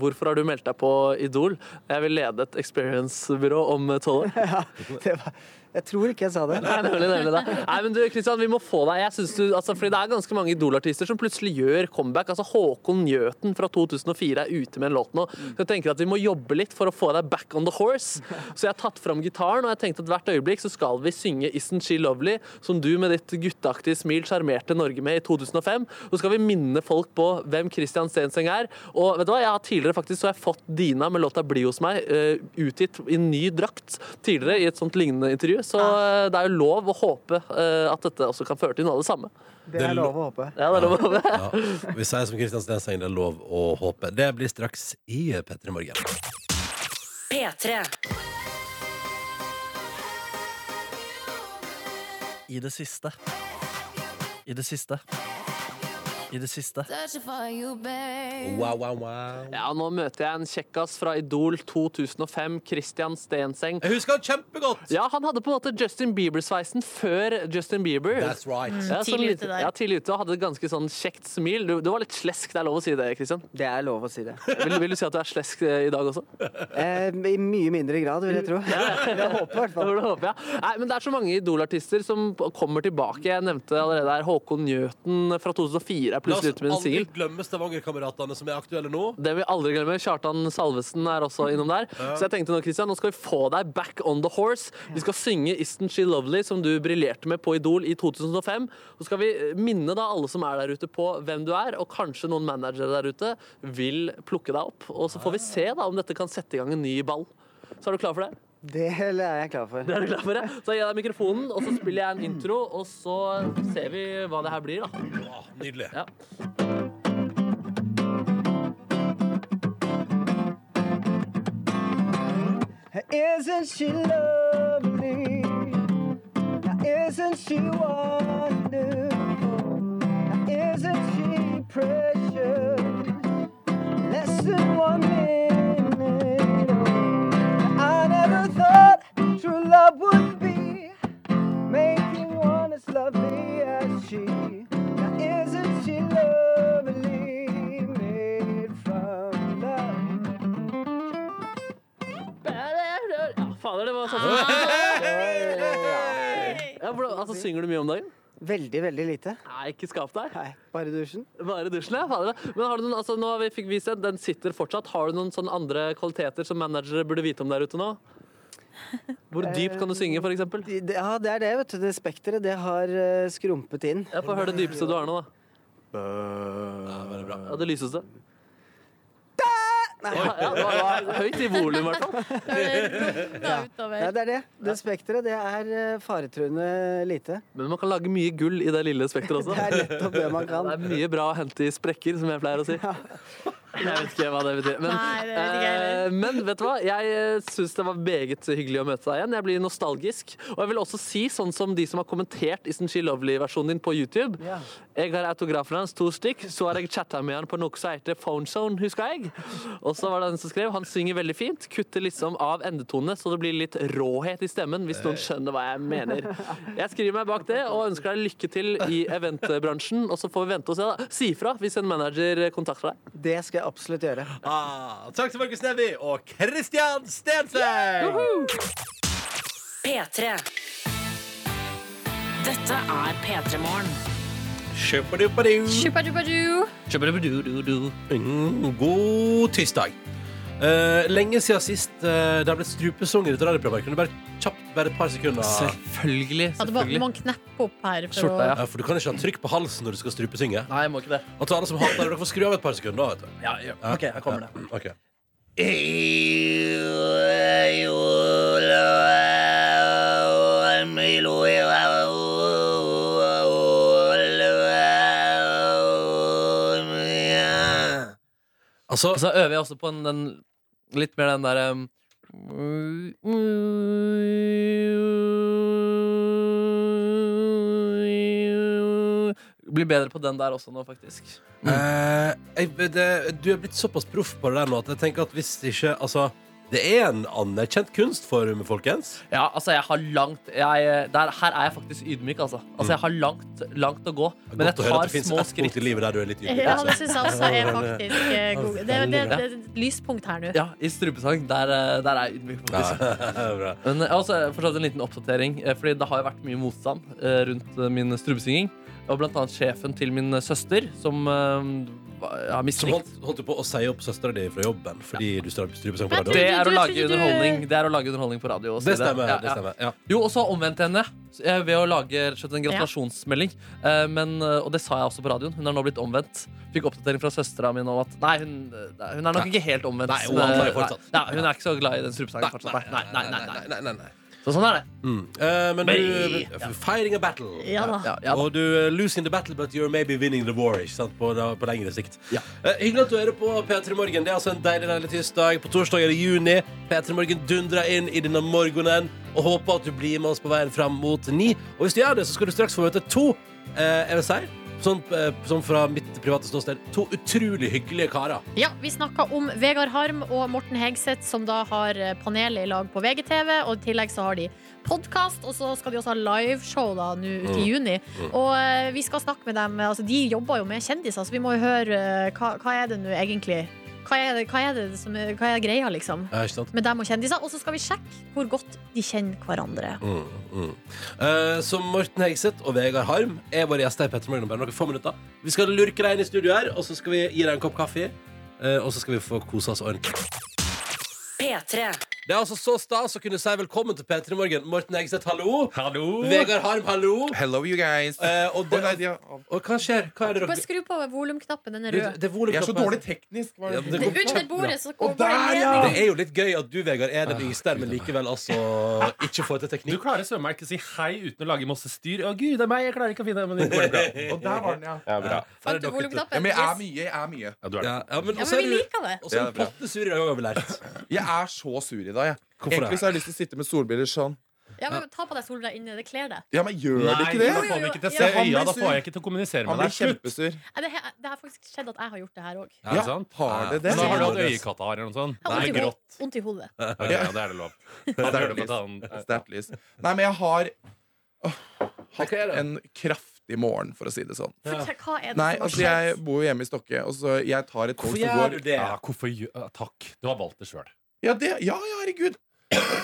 Speaker 3: Hvorfor har du meldt deg på Idol? Jeg vil lede et experience-byrå om tolv år.
Speaker 11: Det var, jeg tror ikke jeg sa det.
Speaker 3: Nei, nemlig, nemlig det. Nei, men du, Kristian, vi må få deg. Jeg synes du, altså, fordi Det er ganske mange Idol-artister som plutselig gjør comeback. Altså Håkon Njøten fra 2004 er ute med en låt nå. Så jeg tenker at Vi må jobbe litt for å få deg back on the horse. Så jeg har tatt fram gitaren, og jeg tenkte at hvert øyeblikk så skal vi synge 'Isn't She Lovely', som du med ditt gutteaktige smil sjarmerte Norge med i 2005. Så skal vi minne folk på hvem Kristian Stenseng er. Og vet du hva, jeg har tidligere faktisk så har jeg fått Dina med låta 'Bli hos meg' eh, utgitt i ny drakt tidligere i et sånt lignende intervju. Så eh, det er jo lov å håpe eh, at dette også kan føre til noe av det samme.
Speaker 11: Det er lov å håpe.
Speaker 3: Ja, det er lov å håpe.
Speaker 2: Ja. Vi sier som Kristian Stenseng, det er lov å håpe. Det blir straks i P3 Morgen.
Speaker 1: P3.
Speaker 5: I det siste. I det siste. I det siste.
Speaker 2: Wow, wow, wow.
Speaker 3: Ja, nå møter jeg en kjekkas fra Idol 2005, Christian Stenseng.
Speaker 2: Jeg husker han kjempegodt!
Speaker 3: Ja, han hadde på en måte Justin Bieber-sveisen før Justin Bieber.
Speaker 2: That's right. Mm,
Speaker 3: Ja, så
Speaker 11: tidlig
Speaker 3: litt-
Speaker 11: ute der.
Speaker 3: Ja, tidlig ute og hadde et ganske sånn kjekt smil. Du, du var litt slesk, det er lov å si det, Christian?
Speaker 11: Det er lov å si det.
Speaker 3: Vil, vil du si at du er slesk eh, i dag også?
Speaker 11: Eh, I mye mindre grad, vil jeg tro. Jeg håper i hvert fall.
Speaker 3: Det håper jeg. Nei, men det er så mange Idol-artister som p- kommer tilbake. Jeg nevnte allerede her Håkon Njøten fra 2004 er
Speaker 2: La oss
Speaker 3: plutselig ute med en
Speaker 2: aldri
Speaker 3: singel.
Speaker 2: glemme Stavanger-kameratene som er aktuelle nå.
Speaker 3: Det vi aldri glemmer, Kjartan Salvesen er også innom der.
Speaker 2: Ja.
Speaker 3: Så jeg tenkte nå, Christian, nå skal vi få deg back on the horse. Vi skal synge 'Isn't She Lovely', som du briljerte med på Idol i 2005. Så skal vi eh, minne da alle som er der ute på hvem du er, og kanskje noen managere der ute vil plukke deg opp. Og så får vi se da om dette kan sette i gang en ny ball. Så er du klar for det?
Speaker 11: Det er jeg klar for.
Speaker 3: Det er du klar for det? Så gir jeg deg mikrofonen, og så spiller jeg en intro, og så ser vi hva det her blir, da.
Speaker 2: Nydelig.
Speaker 3: Ja.
Speaker 12: Isn't she lovely? Now isn't she wonderful? Now isn't she precious? Less than one minute. old. I never thought true love would be making one as lovely as she. Now isn't she lovely? Made from love.
Speaker 3: Ja, fader, det var sånn. Ja, hvordan- altså, synger du mye om dagen?
Speaker 11: Veldig, veldig lite.
Speaker 3: Nei, ikke skap deg.
Speaker 11: Nei, bare dusjen.
Speaker 3: Bare dusjen, ja. Fader. Men har du noen, altså, nå har vi fikk vist den, den sitter fortsatt. Har du noen sånne andre kvaliteter som managere burde vite om der ute nå? Hvor
Speaker 11: Eh,
Speaker 3: dypt kan du synge, for eksempel?
Speaker 11: De- de- Ja, det er det, vet du. Det spekteret, det har eh, skrumpet inn.
Speaker 3: Ja, Få høre det dypeste du har nå, da. Ja, det lyseste. Ja, ja, det var, det var høyt i volum, i hvert fall.
Speaker 11: Ja. ja, det er det. Det spekteret, det er eh, faretruende lite.
Speaker 3: Men man kan lage mye gull i det lille spekteret også.
Speaker 11: Det er nettopp det man kan.
Speaker 3: Det er mye bra å hente i sprekker, som jeg pleier å si. Jeg vet ikke hva det betyr. Men,
Speaker 12: Nei, det vet ikke jeg
Speaker 3: eh, men vet du hva? Jeg eh, syns det var meget hyggelig å møte deg igjen. Jeg blir nostalgisk. Og jeg vil også si, sånn som de som har kommentert Isn't She Lovely-versjonen din på YouTube
Speaker 12: Ja.
Speaker 3: Jeg har autografen hans, to stykk. Så har jeg chatta med han på noe som heter PhoneZone, husker jeg. Og så var det en som skrev han synger veldig fint. Kutter liksom av endetonene, så det blir litt råhet i stemmen, hvis noen skjønner hva jeg mener. Jeg skriver meg bak det og ønsker deg lykke til i eventbransjen. Og så får vi vente og se, da. Si ifra hvis en manager kontakter deg.
Speaker 11: Det skal jeg absolutt gjøre.
Speaker 2: Ah, takk til Markus Neby og Kristian Stenseng!
Speaker 1: P3. Dette er P3 Morgen.
Speaker 2: Kjøpadupadu.
Speaker 4: Shupadubadu.
Speaker 2: Mm, god tirsdag. Eh, lenge siden sist eh, det har blitt strupesanger i dette radioprogrammet. Kunne du bare kjapt bare et par sekunder
Speaker 3: Selvfølgelig.
Speaker 4: Ja, det var- må kneppe opp her for
Speaker 2: Skjorta,
Speaker 4: å
Speaker 2: ja. For du kan ikke ha trykk på halsen når du skal strupesynge.
Speaker 5: Nei, jeg må ikke det.
Speaker 2: Og til alle som hater det, dere får skru av et par sekunder. da, Vet du.
Speaker 5: Ja, ja. Ok, her kommer det.
Speaker 2: Ok.
Speaker 5: Io, io, la,
Speaker 2: Altså,
Speaker 3: så øver jeg også på en, den, litt mer den derre um, Blir bedre på den der også nå, faktisk.
Speaker 2: Eh, jeg, det, du er blitt såpass proff på det der nå at jeg tenker at hvis ikke Altså, det er en anerkjent kunstform, folkens.
Speaker 3: Ja, altså jeg har langt jeg, der, Her er jeg faktisk ydmyk, altså. Altså Jeg har langt, langt å gå. Men jeg
Speaker 2: Godt å høre at
Speaker 3: tar
Speaker 2: Mm. det finnes
Speaker 3: små
Speaker 2: ett punkt
Speaker 3: skritt.
Speaker 2: i livet der du er litt ydmyk.
Speaker 4: Ja,
Speaker 2: altså.
Speaker 4: det syns jeg også er faktisk eh, god. Det, det, det, det er et lyspunkt her nå.
Speaker 3: Ja, I strupesang. Der, eh, der er jeg ydmyk, faktisk.
Speaker 2: Bra.
Speaker 3: Men eh, altså, jeg har også fortsatt en liten oppdatering, eh, Fordi det har jo vært mye motstand eh, rundt eh, min strubesinging. Og blant annet sjefen til min søster, som eh, var- har
Speaker 2: Som
Speaker 3: mislikt
Speaker 2: holdt, holdt du på å si opp søstera di fra jobben fordi du står på strupesang på
Speaker 3: Det
Speaker 2: radioen?
Speaker 3: er å
Speaker 4: tror
Speaker 3: lage
Speaker 4: ikke du-
Speaker 3: underholdning Det er å lage underholdning på radio. og si
Speaker 2: Det stemmer. det stemmer ja.
Speaker 3: Jo, og så omvendt henne så jeg- ved å lage rett og slett en gratulasjonsmelding. Eh, Men, eh, og det sa jeg også på radioen. Hun har nå blitt omvendt. Fikk oppdatering fra søstera mi om at Nei, hun, eh, nei, hun er nok
Speaker 2: Nei.
Speaker 3: ikke helt omvendt.
Speaker 2: Nei, hun handler jo
Speaker 3: Nei,
Speaker 2: fortsatt.
Speaker 3: nei, hun er ikke så glad i den strupesangen fortsatt. Nei, nei, nei, nei, nei,
Speaker 2: nei, nei.
Speaker 3: Så sånn er det.
Speaker 2: Mm. Eh, men
Speaker 3: Nei.
Speaker 2: du Firing a battle.
Speaker 4: Ja da.
Speaker 3: Ja, ja.
Speaker 2: Og du eh, losing the battle, but you're maybe winning the war. Ikke sant? På, da- på lengre sikt. Eh, hyggelig at du hører på P3 Morgen. Det er altså en deilig deilig tirsdag. På torsdag er det juni. P3 Morgen dundrer inn i denne morgenen og håper at du blir med oss på veien fram mot ni. Og hvis du gjør det, så skal du straks få møte to, eh, jeg vil si, sånn, eh, sånn fra mitt private ståsted, to utrolig hyggelige karer.
Speaker 4: Ja, Vi snakka om Vegard Harm og Morten Hegseth, som da har panelet i lag på VGTV. Og i tillegg så har de podkast, og så skal de også ha liveshow da nå ut i
Speaker 13: Mm.
Speaker 4: juni.
Speaker 13: Mm.
Speaker 4: Og eh, vi skal snakke med dem. Altså, de jobber jo med kjendiser, så vi må jo høre eh, hva, hva er det nå egentlig? Hva er, det- hva er det som er, hva er greia, liksom?
Speaker 2: Ja, ikke sant?
Speaker 4: Med dem og kjendiser. Og så skal vi sjekke hvor godt de kjenner hverandre.
Speaker 2: Mm, mm. Eh, så Morten Hegseth og Vegard Harm er våre gjester i Petter Morgen om bare noen få minutter. Vi skal lurke deg inn i studio her, og så skal vi gi deg en kopp kaffe. eh, og så skal vi få kose oss ordentlig.
Speaker 1: P3.
Speaker 2: Det er altså så stas å kunne si velkommen til P3 Morgen. Morten Hegseth, hallo.
Speaker 14: Hallo.
Speaker 2: Vegard Harm, hallo.
Speaker 14: Hello, you guys.
Speaker 2: Eh, og, det, og hva skjer? Hva er det
Speaker 4: Bare
Speaker 2: dere
Speaker 4: skru på volumknappen. Den er
Speaker 2: Det-
Speaker 4: rød.
Speaker 2: det er volumknappen. Jeg er så dårlig
Speaker 14: teknisk.
Speaker 2: Ja, men det går
Speaker 4: Under
Speaker 2: kjempebra.
Speaker 4: bordet så går
Speaker 14: Og der, ja!
Speaker 2: Det er jo litt gøy at du, Vegard, er den yngste her, men likevel altså ikke får til teknikk.
Speaker 14: Du klarer søren meg ikke å si hei uten å lage masse styr. Å, gud, det er meg, jeg klarer ikke å finne det, men det går bra. Og der var den, ja.
Speaker 2: Ja, bra.
Speaker 14: Fant
Speaker 2: du volumknappen?
Speaker 14: Ja, men jeg
Speaker 2: Yes.
Speaker 14: er mye, jeg er mye.
Speaker 2: Ja,
Speaker 14: Ja,
Speaker 2: ja, men,
Speaker 14: Ja,
Speaker 2: også
Speaker 14: men
Speaker 2: er
Speaker 14: vi
Speaker 2: du-
Speaker 14: liker det.
Speaker 2: Også
Speaker 14: Ja,
Speaker 2: er
Speaker 14: det
Speaker 2: du
Speaker 14: er bra.
Speaker 2: potte sur i dag, har vi lært.
Speaker 14: Jeg er så sur i dag, jeg.
Speaker 2: Hvorfor det?
Speaker 14: Egentlig så har jeg lyst til å sitte med solbriller sånn.
Speaker 4: Ja, men Ta på deg solbriller inne. Det kler deg.
Speaker 14: Ja, men gjør
Speaker 4: Nei,
Speaker 14: det
Speaker 4: da får
Speaker 14: ikke
Speaker 4: vi
Speaker 14: det?
Speaker 4: ikke til å se
Speaker 14: Ja, han
Speaker 4: øya,
Speaker 14: blir
Speaker 4: da
Speaker 14: sur.
Speaker 4: får jeg
Speaker 14: ikke til å kommunisere
Speaker 4: med
Speaker 14: Han blir
Speaker 4: deg.
Speaker 14: kjempesur.
Speaker 4: Nei, Det, he- det har faktisk skjedd at jeg har gjort det her òg.
Speaker 14: Ja,
Speaker 4: Jeg
Speaker 14: har det det?
Speaker 4: Nå har du
Speaker 14: Ja.
Speaker 4: hatt
Speaker 14: øyekatt her eller noe sånt.
Speaker 4: har vondt i ho- vondt i hodet.
Speaker 14: Ok, ja, det er det lov.
Speaker 11: Da
Speaker 14: Sterkt
Speaker 11: hører du på
Speaker 14: lys.
Speaker 11: et annet.
Speaker 14: Sterkt lys. Nei, men jeg har åh, hatt en kraftig morgen, for å si det sånn.
Speaker 4: Fortell, hva er det
Speaker 14: Nei,
Speaker 4: som har
Speaker 14: altså
Speaker 4: skjedd?
Speaker 14: Jeg bor jo hjemme i Stokke, og så jeg tar et tog som går
Speaker 11: Ja, hvorfor gjør ja, Takk. Du har valgt det sjøl.
Speaker 14: Ja, det, ja, ja, herregud.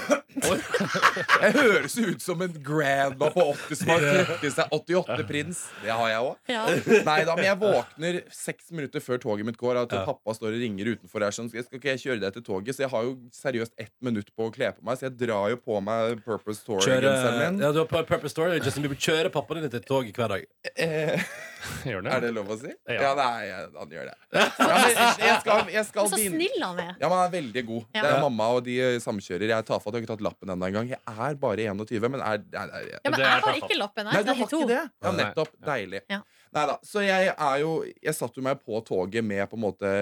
Speaker 14: jeg høres jo ut som en grandma på 80 som har trukket seg 88-prins. Det har jeg òg.
Speaker 11: Ja.
Speaker 14: Nei da, men jeg våkner seks minutter før toget mitt går. At pappa står og ringer utenfor her sånn, skal ikke jeg kjøre deg til toget? Så jeg har jo seriøst ett minutt på å kle på meg, så jeg drar jo på meg Purpose
Speaker 2: Kjøre,
Speaker 14: Tour-genseren min.
Speaker 2: eh, ja, du har på Purpose Story, Justin Bieber kjører pappaen din til tog hver dag.
Speaker 14: Er det lov å si?
Speaker 2: Ja.
Speaker 14: Ja, nei, ja, han gjør det. Ja, men jeg skal, jeg skal
Speaker 4: Men så
Speaker 14: begynne-
Speaker 4: snill han er.
Speaker 14: Ja, men han er veldig god.
Speaker 4: Ja.
Speaker 14: Det er
Speaker 4: Ja.
Speaker 14: mamma og de samkjører. Jeg er tafatt, jeg har ikke tatt lappen ennå engang. Jeg er bare 21, men er, er, er,
Speaker 4: Ja, men jeg har ikke lappen. Jeg
Speaker 14: Nei,
Speaker 4: er
Speaker 14: du har ikke
Speaker 4: 32.
Speaker 14: det? Ja, nettopp. Deilig.
Speaker 4: Ja.
Speaker 14: Neida, Så jeg er jo Jeg satte jo meg på toget med på en måte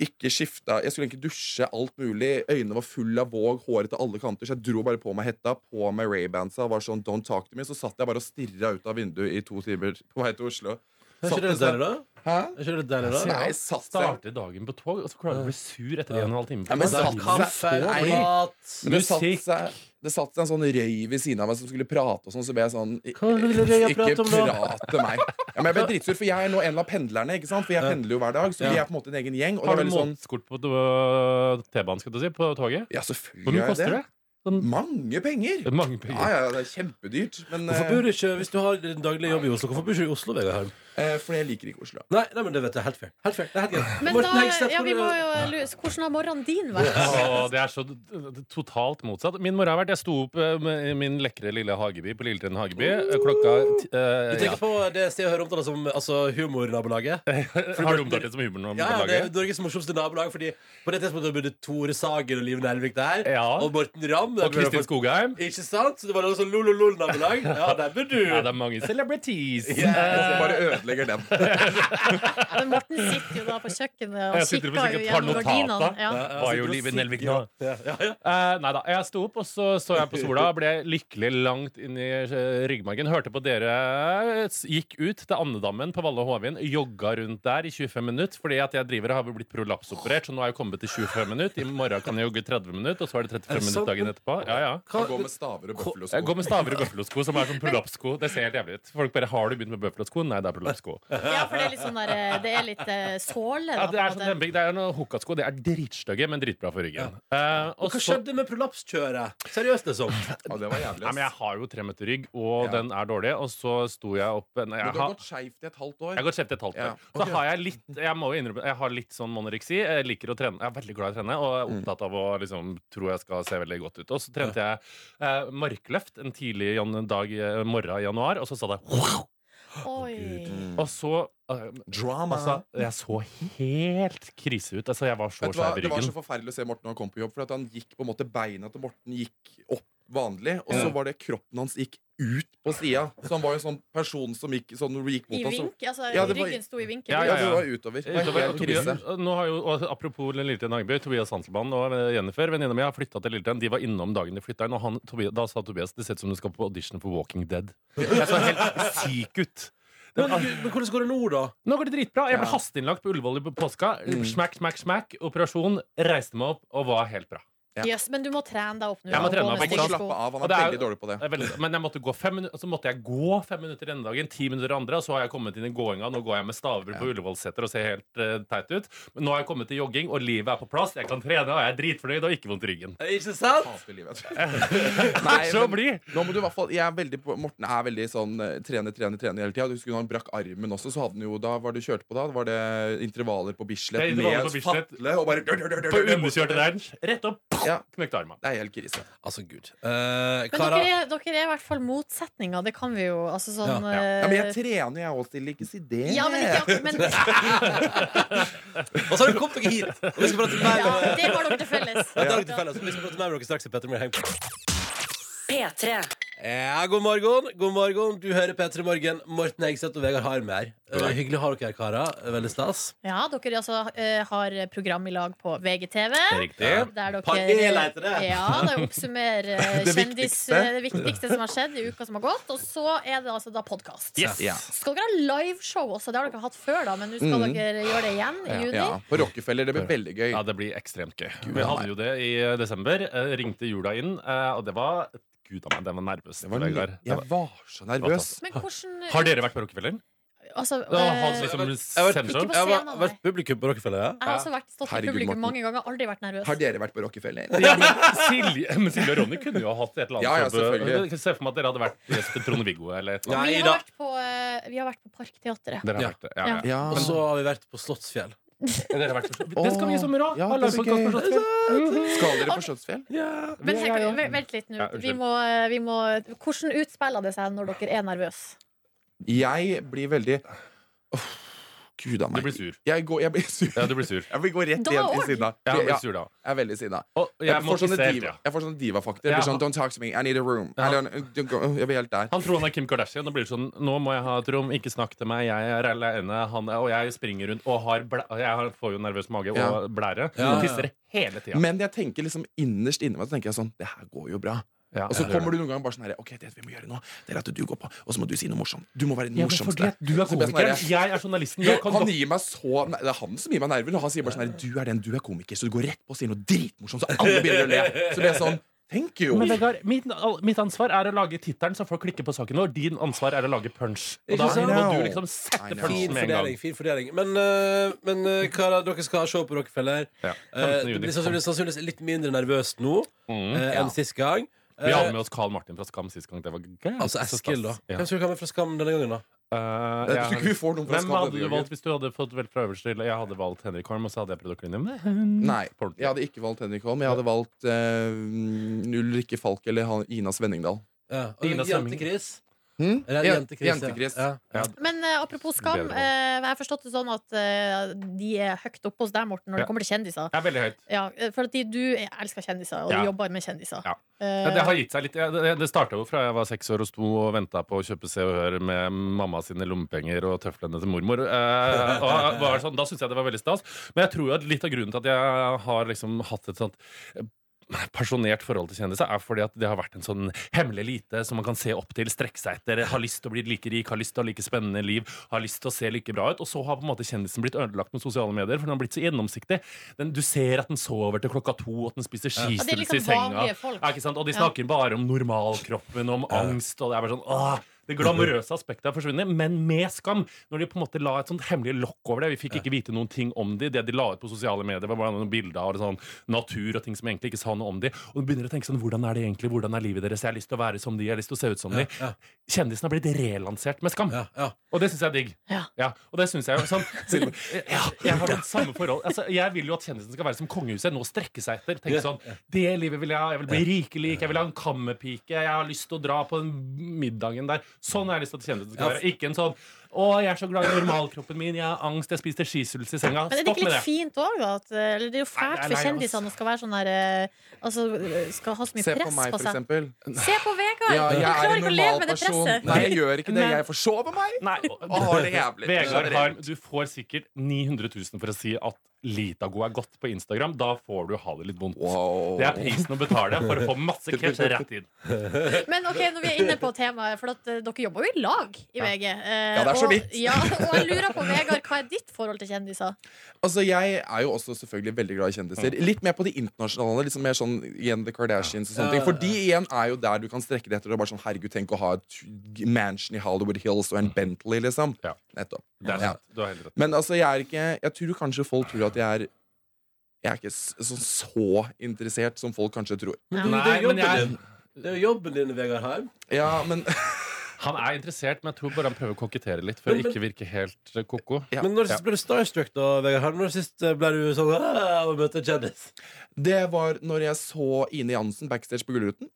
Speaker 14: ikke skifta Jeg skulle egentlig dusje, alt mulig. Øynene var fulle av våg, håret til alle kanter. Så jeg dro bare på meg hetta, på meg Ray-bandsa og var sånn Don't talk to me. Så satt jeg bare og stirra ut av vinduet i to timer på vei til Oslo.
Speaker 2: Er ikke
Speaker 14: Satt
Speaker 2: det
Speaker 14: jeg sånn-
Speaker 2: deilig, da?
Speaker 14: Hæ?
Speaker 2: Er ikke det deilig, da?
Speaker 14: Nei, satt jeg
Speaker 11: Starter dagen på tog, og så klarer du å bli sur etter en og en halv time.
Speaker 14: Ja, men satt
Speaker 11: Kaffe,
Speaker 14: seg, nei,
Speaker 11: mat,
Speaker 14: men det, satt
Speaker 11: musikk.
Speaker 14: seg, det satt seg en sånn røy ved siden av meg som skulle prate og sånn, så ble jeg sånn
Speaker 2: ville røya
Speaker 14: Ikke
Speaker 2: prate om da?
Speaker 14: prat til meg. Ja, men jeg ble dritsur, for jeg er nå en av pendlerne, ikke sant? For jeg pendler jo hver dag, så vi er på en måte en egen gjeng. Og det
Speaker 11: Har
Speaker 14: er
Speaker 11: du
Speaker 14: veldig sånn
Speaker 11: månedskort på øh, T-banen, skal du si, på toget?
Speaker 14: Ja, selvfølgelig
Speaker 11: Hvor
Speaker 14: har
Speaker 11: mye
Speaker 14: jeg
Speaker 11: koster det? Sånn-
Speaker 14: det. Mange penger.
Speaker 11: Mange penger.
Speaker 14: Ja, ja, ja, det er kjempedyrt, men
Speaker 2: Hvorfor
Speaker 14: eh,
Speaker 2: bor du ikke, Hvis du har din daglige jobb i Oslo, hvorfor bor du ikke i Oslo? Vegard Harm?
Speaker 14: eh, Fordi jeg liker ikke Oslo.
Speaker 2: Nei, nei, men det vet jeg. Helt fair. Helt fair. Det er helt greit.
Speaker 4: Men
Speaker 2: Morten
Speaker 4: da,
Speaker 2: Hegseth,
Speaker 4: ja,
Speaker 2: har
Speaker 4: vi
Speaker 2: du-
Speaker 4: må jo lure Hvordan har morgenen din vært?
Speaker 11: Å, det er så d- d- totalt motsatt. Min mor har vært Jeg sto opp eh, med- i min lekre lille hageby på Lilletrenn hageby eh, klokka ti-
Speaker 2: Du
Speaker 11: eh, ja.
Speaker 2: tenker på det stedet jeg hører omtalt som altså, humornabolaget?
Speaker 11: Har du omtalt det som humornabolaget?
Speaker 2: Ja, ja, det er Norges morsomste nabolag. Fordi på det tidspunktet bodde Tore Sagen og Liv Nelvik der. Og Morten Ramm det
Speaker 11: Og Kristin Skogheim.
Speaker 2: Ikke sant? Så det var noe sånn lololol-nabolag. Ja, der bør du.
Speaker 11: Ja, det er mange celebrities.
Speaker 2: Ja,
Speaker 14: så bare ødelegger den.
Speaker 4: Men Morten sitter jo da på kjøkkenet og
Speaker 11: Jeg sitter og
Speaker 4: kikker jo
Speaker 11: sikkert par
Speaker 4: gjennom gardinene.
Speaker 11: notater.
Speaker 4: Ja.
Speaker 11: Var jo livet Nelvik nå.
Speaker 2: Eh,
Speaker 11: Nei da. Jeg sto opp, og så så jeg på sola. Ble lykkelig langt inn i eh, ryggmargen. Hørte på dere. eh, s- Gikk ut til andedammen på Valle og Hovin. Jogga rundt der i 25 minutter. Fordi at jeg driver og har blitt prolapsoperert, så nå er jeg kommet til 25 minutter. I morgen kan jeg jogge 30 minutter, og så er det 35
Speaker 14: sant?
Speaker 11: minutter dagen etterpå. Ja, ja.
Speaker 14: Han går med staver og bøffelosko.
Speaker 11: Jeg går med staver og bøffelosko, som er sånn prolapssko. Det ser helt jævlig ut. Folk bare Har du begynt med bøffelosko? Nei, det er prolapssko.
Speaker 4: ja, for det er litt sånn der eh, Det er litt eh, såle.
Speaker 11: Ja,
Speaker 4: Da,
Speaker 11: det er
Speaker 4: på
Speaker 11: sånn
Speaker 4: en måte.
Speaker 11: hemming. Det er noen hokkasko. Det er dritstygge, men dritbra for ryggen. Eh, og
Speaker 2: Og hva
Speaker 11: så-
Speaker 2: skjedde med prolapskjøret? Seriøst, liksom.
Speaker 14: Ja, det var jævlig.
Speaker 11: Nei, men jeg
Speaker 14: ass.
Speaker 11: har jo tre meter rygg, og
Speaker 14: Ja.
Speaker 11: den er dårlig. Og så sto jeg opp nei,
Speaker 14: Men
Speaker 11: jeg,
Speaker 14: du har
Speaker 11: har,
Speaker 14: gått skeivt i et halvt år.
Speaker 11: jeg har gått skjevt et halvt år.
Speaker 14: Ja,
Speaker 11: Så har jeg litt Jeg må jo innrømme Jeg har litt sånn monoreksi. Jeg liker å trene. Jeg er veldig glad i å trene og
Speaker 3: Mm.
Speaker 11: er opptatt av å liksom tro jeg skal se veldig godt ut. Og så trente jeg eh, markløft en tidlig jan- dag eh, morgen i januar, og så sa det
Speaker 4: Oi.
Speaker 11: Og så eh,
Speaker 14: Mm. Drama.
Speaker 11: Altså, jeg så helt krise ut. Altså, jeg var så
Speaker 14: Vet du hva?
Speaker 11: skeiv i
Speaker 14: Det var så
Speaker 11: ryggen.
Speaker 14: forferdelig å se Morten når han kom på jobb, for at han gikk på en måte beina til Morten gikk opp vanlig, og så
Speaker 11: Ja.
Speaker 14: var det kroppen hans gikk ut på sida. Så han var jo en sånn person som gikk, sånn, når du gikk
Speaker 4: I
Speaker 14: mot oss.
Speaker 4: vink? Altså,
Speaker 14: Ja, det var-
Speaker 4: ryggen sto i vinkel?
Speaker 14: Ja, ja, det var utover. Det var
Speaker 11: Utover,
Speaker 14: helt
Speaker 11: og Tobias,
Speaker 14: krise.
Speaker 11: nå har jo, og apropos Lilleten Hageby, Tobias Hanselmann og eh, Jennifer, venninna mi, har flytta til Lilleten. De var innom dagen de flytta inn, og han, Tobias, da sa Tobias det ser ut som du skal på audition for Walking Dead. Jeg så helt syk ut.
Speaker 2: Men, du- men hvordan går det nå, da?
Speaker 11: Nå går det dritbra. Jeg ble
Speaker 14: Ja.
Speaker 11: hasteinnlagt på Ullevål i påska. Smack, smack, smack. Operasjon. Reiste meg opp og var helt bra.
Speaker 14: Ja.
Speaker 4: Yes, men du må trene deg opp nå.
Speaker 11: Jeg må
Speaker 4: og
Speaker 11: trene
Speaker 4: gå med
Speaker 11: meg opp, ikke
Speaker 14: Han
Speaker 11: sant?
Speaker 4: støvsko.
Speaker 14: slapp av. Han
Speaker 11: Og
Speaker 14: er,
Speaker 11: det er-
Speaker 14: veldig dårlig på det.
Speaker 11: Det er veldig- Men jeg måtte gå fem minutter, så måtte jeg gå fem minutter denne dagen, ti minutter andre, og så har jeg kommet inn i gåinga. Nå går jeg med staver på Ullevålseter og ser helt eh, teit ut. Men nå har jeg kommet til jogging, og livet er på plass. Jeg kan trene, og jeg er dritfornøyd og ikke vondt i ryggen.
Speaker 2: Eh, Ikke sant?
Speaker 14: Hater livet. Nei,
Speaker 11: Så
Speaker 14: men-
Speaker 11: bli!
Speaker 14: Nå må du i hvert fall, jeg er veldig, på- Morten er veldig sånn eh, trene, trene, trene hele tida. Du husker når han brakk armen også, så hadde han jo, da var det kjørt på da, var det intervaller på Bislett
Speaker 11: Det er intervaller på
Speaker 14: med
Speaker 11: Bislett.
Speaker 14: fatle og bare
Speaker 11: På underkjørte range. Rett opp,
Speaker 14: Ja.
Speaker 11: knekte armen.
Speaker 14: Det er helt krise.
Speaker 2: Altså, gud. Eh,
Speaker 4: Men
Speaker 2: Klara,
Speaker 4: dere er, dere er i hvert fall motsetninger. Det kan vi jo altså sånn
Speaker 2: Ja,
Speaker 14: Ja, men jeg
Speaker 4: eh,
Speaker 14: trener, jeg òg, Stille. Ikke si det.
Speaker 4: ja, men ikke men,
Speaker 2: og så har dere kommet dere hit! Og vi skal prate mer
Speaker 4: ja,
Speaker 2: om
Speaker 4: Det har dere til felles.
Speaker 2: Ja, det har dere til felles. Vi skal prate mer med dere straks i Petter Morgen. Heng på.
Speaker 1: P3.
Speaker 2: Ja, god morgen. God morgen. Du hører P3 Morgen. Morten Hegseth og Vegard Harm her. Eh, hyggelig å ha dere her, karer. Eh, Veldig stas.
Speaker 4: Ja, dere altså, eh, har program i lag på VGTV.
Speaker 11: Riktig.
Speaker 4: Der dere,
Speaker 2: Panel heter det.
Speaker 4: Ja, det oppsummerer eh,
Speaker 14: E, Det
Speaker 4: kjendis,
Speaker 14: viktigste.
Speaker 4: eh, det viktigste som har skjedd i uka som har gått. Og så er det altså da podkast.
Speaker 11: Yes.
Speaker 14: Ja.
Speaker 4: Skal dere ha liveshow også? Det har dere hatt før, da, men nå skal
Speaker 14: Mm.
Speaker 4: dere gjøre det igjen i juni.
Speaker 14: Ja, på Rockefeller. Det blir veldig gøy.
Speaker 11: Ja, det blir ekstremt gøy. Vi hadde jo det i eh, desember. Eh, Ringte jula inn, eh, og det var Gud a meg, den var nervøs.
Speaker 14: Det var ny-
Speaker 11: Vegard. Det
Speaker 14: jeg
Speaker 11: var-
Speaker 14: var så nervøs.
Speaker 4: Men hvordan
Speaker 11: Har dere vært på Rockefeller?
Speaker 4: altså,
Speaker 11: Det var han
Speaker 4: eh,
Speaker 11: som liksom
Speaker 2: Jeg har
Speaker 11: sender sånn.
Speaker 4: Ikke på
Speaker 2: jeg har
Speaker 4: scenen,
Speaker 2: vært publikum på Rockefeller. Ja.
Speaker 4: Jeg har også vært stått i
Speaker 14: Herregud,
Speaker 4: publikum
Speaker 14: Morten.
Speaker 4: mange ganger, aldri vært nervøs.
Speaker 14: Har dere vært på Rockefeller?
Speaker 11: Ja, men Silje, men Silje og Ronny kunne jo ha hatt et eller annet
Speaker 14: Ja, ja,
Speaker 11: jobb.
Speaker 14: selvfølgelig.
Speaker 11: Se for meg at dere hadde vært gjest til Trond-Viggo eller et
Speaker 4: vi,
Speaker 11: eller
Speaker 2: Nei
Speaker 4: har
Speaker 2: da.
Speaker 4: vært på, eh, vi har vært på Parkteatret.
Speaker 11: annet. Dere
Speaker 2: Ja.
Speaker 11: har vært det. Ja, ja.
Speaker 14: Ja.
Speaker 2: Og så har vi vært på Slottsfjell.
Speaker 11: Dere har vært på- Det skal vi i sommer òg!
Speaker 14: Ja, det blir gøy. Skal dere på Slottsfjell?
Speaker 4: Men tenk, vent- vent litt nå.
Speaker 11: Ja, unnskyld.
Speaker 4: Vi må, eh, vi må, hvordan utspiller det seg når dere er nervøse?
Speaker 14: Jeg blir veldig Åh, Gud a
Speaker 11: Du
Speaker 14: meg.
Speaker 11: blir sur.
Speaker 14: Jeg, går, jeg blir sur.
Speaker 11: Ja, du blir sur.
Speaker 14: Jeg vil gå rett
Speaker 4: Da
Speaker 14: igjen i
Speaker 4: også.
Speaker 14: sinna.
Speaker 11: Ja, du blir
Speaker 14: Ja,
Speaker 11: sur da.
Speaker 14: jeg er veldig sinna.
Speaker 11: Og
Speaker 14: Jeg,
Speaker 11: jeg må
Speaker 14: får sånne
Speaker 11: tisse hele
Speaker 14: diva,
Speaker 11: tida.
Speaker 14: jeg får sånne divafakter. Jeg blir
Speaker 11: Ja.
Speaker 14: Sånn, Don't talk to me. I need a room. I
Speaker 11: Ja.
Speaker 14: don't, don't go. Jeg blir helt der.
Speaker 11: Han tror han er Kim Kardashian. Og blir det sånn, nå må jeg ha et rom, ikke snakk til meg. Jeg er alene, han er, og jeg springer rundt og har blæ jeg har, får jo nervøs mage
Speaker 14: Ja.
Speaker 11: og blære.
Speaker 2: Ja, ja.
Speaker 11: Og tisser hele tida.
Speaker 14: Men jeg tenker liksom innerst inni meg Så tenker jeg sånn Det her går jo bra.
Speaker 11: Ja,
Speaker 14: Og så kommer du noen ganger bare sånn her Ok, det vi må gjøre nå, Det er at du går på, og så må du si noe morsomt. Du må være den
Speaker 11: ja, men
Speaker 14: morsomste.
Speaker 11: fordi at Du er
Speaker 14: Så blir jeg sånn
Speaker 11: komikeren,
Speaker 14: her-
Speaker 11: jeg er journalisten.
Speaker 14: Jo,
Speaker 11: Jeg kan
Speaker 14: han gir meg så Nei, Det er han som gir meg nerver. når Han sier bare sånn her Du er den, du er komiker, så du går rett på og sier noe dritmorsomt, så alle begynner å le. Så blir jeg sånn Thank you.
Speaker 11: Men Vegard, mitt, all- mitt ansvar er å lage tittelen, så folk klikker på saken vår. Din ansvar er å lage punch. Og da
Speaker 2: Ikke sant?
Speaker 11: må du liksom
Speaker 14: I
Speaker 11: sette
Speaker 14: know.
Speaker 11: punchen
Speaker 2: Fin
Speaker 11: med en gang.
Speaker 2: fordeling. fin fordeling Men, eh, men eh, karer, dere skal se på Rockefeller.
Speaker 11: Ja.
Speaker 2: Eh,
Speaker 11: 15.
Speaker 2: det
Speaker 11: juni.
Speaker 2: blir sannsynligvis, sannsynligvis litt mindre nervøst nå
Speaker 11: Mm.
Speaker 2: eh, enn sist gang.
Speaker 11: Vi hadde
Speaker 2: Eh,
Speaker 11: med oss Carl Martin fra Skam sist gang. Det var gøy.
Speaker 2: altså Eskil, da.
Speaker 11: Ja.
Speaker 2: Hvem skal vi ha med fra Skam denne gangen, da?
Speaker 11: Eh,
Speaker 14: Jeg tror ikke vi får noen fra
Speaker 11: Hvem
Speaker 14: Skam
Speaker 11: hadde du
Speaker 14: denne
Speaker 11: valgt
Speaker 14: gangen.
Speaker 11: hvis du hadde fått vel fra øverste hylle? Jeg hadde valgt Henrik Holm, og så hadde jeg prøvd å kline med
Speaker 14: Nei.
Speaker 11: Folk.
Speaker 14: Jeg hadde ikke valgt Henrik Holm. Jeg hadde valgt eh, Ulrikke Falk eller han- Ina Svenningdal.
Speaker 2: Ja. og
Speaker 11: Ina Svømming.
Speaker 2: Jente-Chris.
Speaker 14: Hm?
Speaker 2: Eller
Speaker 14: Jen-
Speaker 2: jentekris, ja.
Speaker 14: Jentekris.
Speaker 2: Ja.
Speaker 4: Men eh, apropos skam,
Speaker 11: Bedre.
Speaker 4: eh, jeg har forstått det sånn at eh, de er høyt oppe hos deg, Morten, når
Speaker 11: Ja.
Speaker 4: det kommer til kjendiser.
Speaker 11: Jeg er veldig høyt.
Speaker 4: Ja, eh, for at de, du elsker kjendiser, og
Speaker 11: Ja.
Speaker 4: du jobber med kjendiser.
Speaker 11: Ja.
Speaker 4: Eh,
Speaker 11: Ja, Det har gitt seg litt. Ja, Det, det starta jo fra jeg var seks år og sto og venta på å kjøpe Se og Hør med mamma sine lommepenger og tøflene til mormor. Eh, og var sånn, da syntes jeg det var veldig stas. Men jeg tror jo at litt av grunnen til at jeg har liksom hatt et sånt eh, Personert forhold til kjendiser er fordi at det har vært en sånn hemmelig elite som man kan se opp til, strekke seg etter, ha lyst til å bli like rik, ha lyst til å ha like spennende liv, ha lyst til å se like bra ut. Og så har på en måte kjendisen blitt ødelagt med sosiale medier, for den har blitt så gjennomsiktig. Den, du ser at den sover til klokka to, og at den spiser
Speaker 4: Ja, det er
Speaker 11: skistelse
Speaker 4: liksom
Speaker 11: i senga.
Speaker 4: vanlige folk.
Speaker 11: Ja, ikke sant? Og de
Speaker 4: Ja.
Speaker 11: snakker bare om normalkroppen, om angst, og det er bare sånn åh, det glamorøse aspektet har forsvunnet, men med skam. Når de på en måte la et sånt hemmelig lokk over det. Vi fikk ikke vite noen ting om de. Det de la ut på sosiale medier, var bare noen bilder av sånn natur og ting som egentlig ikke sa noe om de. Og du begynner å tenke sånn, hvordan er det egentlig? Hvordan er livet deres? Jeg har lyst til å være som de, jeg har lyst til å se ut som de. Kjendisen har blitt relansert med skam. Og det syns jeg er digg.
Speaker 4: Ja.
Speaker 11: og det syns jeg jo sånn ja, jeg har det samme forhold altså, Jeg vil jo at kjendisen skal være som kongehuset Nå strekke seg etter Tenke sånn, det livet vil jeg ha Jeg vil bli rikelik, jeg vil ha en kammepike Jeg har lyst til å dra på den middagen der Sånn har jeg lyst til at kjendisen skal
Speaker 2: Ja.
Speaker 11: være Ikke en sånn, å jeg er så glad i normalkroppen min Jeg har angst, jeg spiste skisulse i senga
Speaker 4: Men er det
Speaker 11: Stopp
Speaker 4: ikke
Speaker 11: med
Speaker 4: litt
Speaker 11: det
Speaker 4: fint òg, da? At, eh, eller det er jo fælt
Speaker 11: Nei, nei, altså-
Speaker 4: for
Speaker 11: nei, ass.
Speaker 4: kjendisene å skal være sånn der eh, Altså skal ha så mye
Speaker 14: Se på
Speaker 4: press på
Speaker 14: meg, for
Speaker 4: seg.
Speaker 14: eksempel.
Speaker 4: Se på Vegard!
Speaker 14: Ja,
Speaker 4: du
Speaker 14: jeg er
Speaker 4: klarer ikke
Speaker 14: en
Speaker 4: å
Speaker 14: normal
Speaker 4: leve med det
Speaker 14: person.
Speaker 4: presset.
Speaker 14: Nei, jeg gjør ikke det.
Speaker 11: Nei.
Speaker 14: Jeg forsover meg.
Speaker 11: Nei.
Speaker 14: Å, det er jævlig.
Speaker 11: Vegard
Speaker 14: Det er
Speaker 11: Harm, du får sikkert 900 000 for å si at Litago er godt på Instagram. Da får du ha det litt vondt. Det er prisen å betale for å få masse cash rett inn.
Speaker 4: Men ok, når vi er inne på temaet, for at eh, dere jobber jo i lag i VG. eh,
Speaker 14: Ja, det er så
Speaker 4: og-
Speaker 14: vidt.
Speaker 4: Ja, og jeg lurer på, Vegard, hva er ditt forhold til kjendiser?
Speaker 14: Altså, Jeg er jo også selvfølgelig veldig glad i kjendiser. Litt mer på de internasjonale. Liksom mer sånn, igjen The Kardashians og sånne ting. For de igjen er jo der du kan strekke det etter. Og bare sånn, herregud, tenk å ha et mansion i Hollywood Hills og en Bentley, liksom. Nettopp.
Speaker 11: Mm. Det er
Speaker 14: Ja.
Speaker 11: sant. Du har helt rett.
Speaker 14: Men altså, jeg er ikke Jeg tror kanskje folk tror at jeg er jeg er ikke s- så, så interessert som folk kanskje tror.
Speaker 2: Men du, det er jobben din. Det er jo jobben din, Vegard Harm.
Speaker 14: Ja, men
Speaker 11: Han er interessert, men jeg tror bare han prøver å kokettere litt for å
Speaker 2: Men- men-
Speaker 11: ikke virke helt eh, ko-ko.
Speaker 2: Men når sist ble du starstruck, da, Vegard Harm? Når sist eh, ble du sånn «Ah, Å møte en kjendis?
Speaker 14: Det var når jeg så Ine Jansen backstage på Gullruten.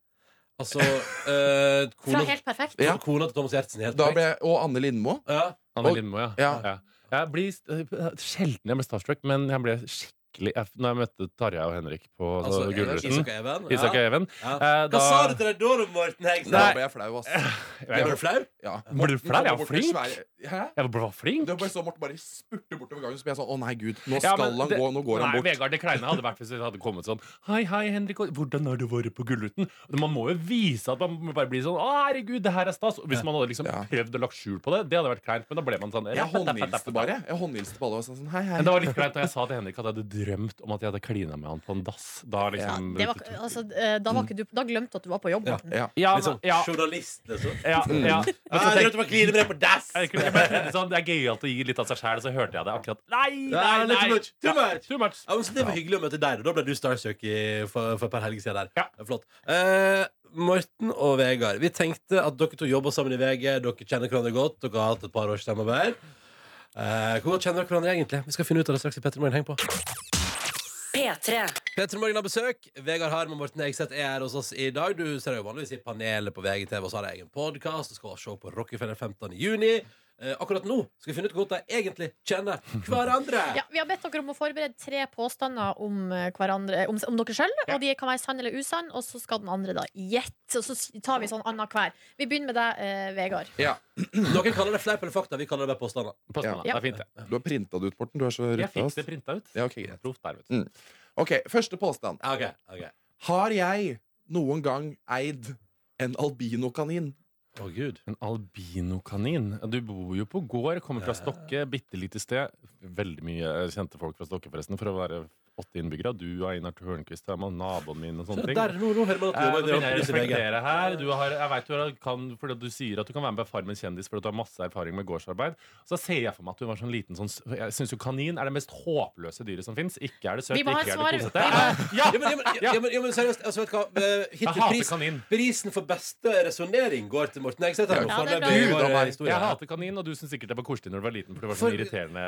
Speaker 2: Altså eh,
Speaker 4: Fra
Speaker 2: kona,
Speaker 4: Helt perfekt?
Speaker 14: Ja.
Speaker 2: Altså, kona til Thomas Giertsen i helt
Speaker 14: Da
Speaker 2: perfekt.
Speaker 14: ble jeg, og Anne Lindmo.
Speaker 11: Han er
Speaker 14: Og-
Speaker 11: Lindmo, ja.
Speaker 14: Ja.
Speaker 11: ja. Jeg blir eh, sjelden jeg ble starstruck, men jeg ble skikkelig jeg, Når jeg møtte Tarjei og Henrik på
Speaker 2: Altså,
Speaker 11: altså, Gullruten
Speaker 2: Isak og Even, ja.
Speaker 11: Isak og Even,
Speaker 2: Ja.
Speaker 11: eh,
Speaker 2: Hva
Speaker 11: da-
Speaker 2: sa du til deg da, Morten Hegstad?
Speaker 14: Da ble jeg flau, ass.
Speaker 11: Ble du
Speaker 2: flau?
Speaker 14: Ja.
Speaker 11: Ble du
Speaker 14: Morten
Speaker 11: flau?
Speaker 14: kom
Speaker 11: Jeg var
Speaker 14: bort med
Speaker 11: flink.
Speaker 14: svære- Hæ?
Speaker 11: Jeg var flink.
Speaker 14: Det var bare så Morten bare spurte bortover gangen, så ble jeg sånn Å nei, gud, nå
Speaker 11: Ja,
Speaker 14: skal
Speaker 11: men
Speaker 14: han
Speaker 11: det-
Speaker 14: gå, nå går han
Speaker 11: nei,
Speaker 14: bort.
Speaker 11: Vegard det kleine hadde vært hvis det hadde kommet sånn Hei, hei, Henrik, og hvordan har du vært på Gullruten? Man må jo vise at man bare blir sånn Å, herregud, det her er stas. Og hvis man hadde liksom prøvd å lagt skjul på det, det hadde vært kleint, men da ble man sånn
Speaker 14: Jeg håndhilste bare. Jeg håndhilste på alle og sa sånn hei, hei.
Speaker 11: Men det var litt kleint da jeg sa til Henrik at jeg hadde drømt om at jeg hadde klina med han på en dass. Da liksom
Speaker 4: Det var, altså, eh, da, var ikke du, da glemte du at du var på jobb, Morten.
Speaker 11: Ja,
Speaker 2: Litt sånn
Speaker 11: men- ja.
Speaker 2: journalist, liksom.
Speaker 11: Ja, ja.
Speaker 2: Mm. Ah, jeg drømte om å kline med deg på dass!
Speaker 11: Jeg kunne- jeg ble litt sånn, Det er gøyalt å gi litt av seg sjæl, så hørte jeg det akkurat. Nei, nei,
Speaker 2: Ja, litt
Speaker 11: nei!
Speaker 2: too much. Too much.
Speaker 11: Ja,
Speaker 2: men så det var hyggelig å møte deg. og Da ble du starstruck i- for, for et par helger siden. Der. Det er Flott. Eh, Morten og Vegard, vi tenkte at dere to jobber sammen i VG. Dere kjenner hverandre godt. Dere har hatt et par års samarbeid. Eh, hvor godt kjenner dere hverandre egentlig? Vi skal finne ut av det straks i Petter Morgen. Heng på.
Speaker 1: P3.
Speaker 2: Petter Morgen har besøk. Vegard Harm og Morten Hegseth er her hos oss i dag. Du ser deg jo vanligvis i panelet på VGTV, og så har de egen podkast. Du skal se på Rockefeller 15. juni. Eh, akkurat nå skal vi finne ut hvor godt de egentlig kjenner hverandre.
Speaker 4: Ja, vi har bedt dere om å forberede tre påstander om, eh, hverandre, om, om dere sjøl. Og de kan være sann eller usann, og så skal den andre da gjette. Og så s- tar vi sånn annenhver. Vi begynner med deg, eh, Vegard.
Speaker 14: Ja.
Speaker 2: Noen kaller det fleip eller fakta. Vi kaller det bare påstander.
Speaker 11: Påstander,
Speaker 4: Ja. det er
Speaker 11: fint,
Speaker 14: Du har printa det ut, Morten. Du er så
Speaker 11: Jeg
Speaker 14: rutta.
Speaker 11: fikk
Speaker 14: ass.
Speaker 11: det printa ut.
Speaker 14: Ja, ok, greit.
Speaker 11: Proff der, vet du.
Speaker 14: Mm. OK, første påstand.
Speaker 2: Ok, ok.
Speaker 14: Har jeg noen gang eid en albinokanin?
Speaker 2: Å, gud.
Speaker 11: En albinokanin. Du bor jo på gård, kommer fra Stokke, bitte lite sted. Veldig mye kjente folk fra Stokke, forresten, for å være åtte innbyggere. Du og Einar Tørnquist er med, naboen min og sånne ting.
Speaker 2: Der, nå, nå hører man at du
Speaker 11: Eh, Nå
Speaker 2: jobber med
Speaker 11: begynner jeg å
Speaker 2: det
Speaker 11: reflektere her. Du har, jeg vet jo at du kan, fordi at du sier at du kan være med på Farmen kjendis fordi at du har masse erfaring med gårdsarbeid. Så ser jeg for meg at du var sånn liten sånn Jeg syns jo kanin er det mest håpløse dyret som fins. Ikke er det søtt,
Speaker 2: Vi må
Speaker 11: ikke
Speaker 2: ha
Speaker 11: er
Speaker 2: et
Speaker 11: det kosete.
Speaker 2: svar.
Speaker 11: Ja,
Speaker 2: men, ja, men, ja, men, ja, men seriøst, altså, vet du hva? Eh, hittil
Speaker 11: Jeg hater
Speaker 2: pris-
Speaker 11: kanin.
Speaker 2: Prisen for beste resonnering går til Morten Egseth. her nå, for han lever i vår historie.
Speaker 11: Jeg hater kanin, og du syns sikkert det var koselig når du var liten. For det var sånn
Speaker 2: For-
Speaker 11: irriterende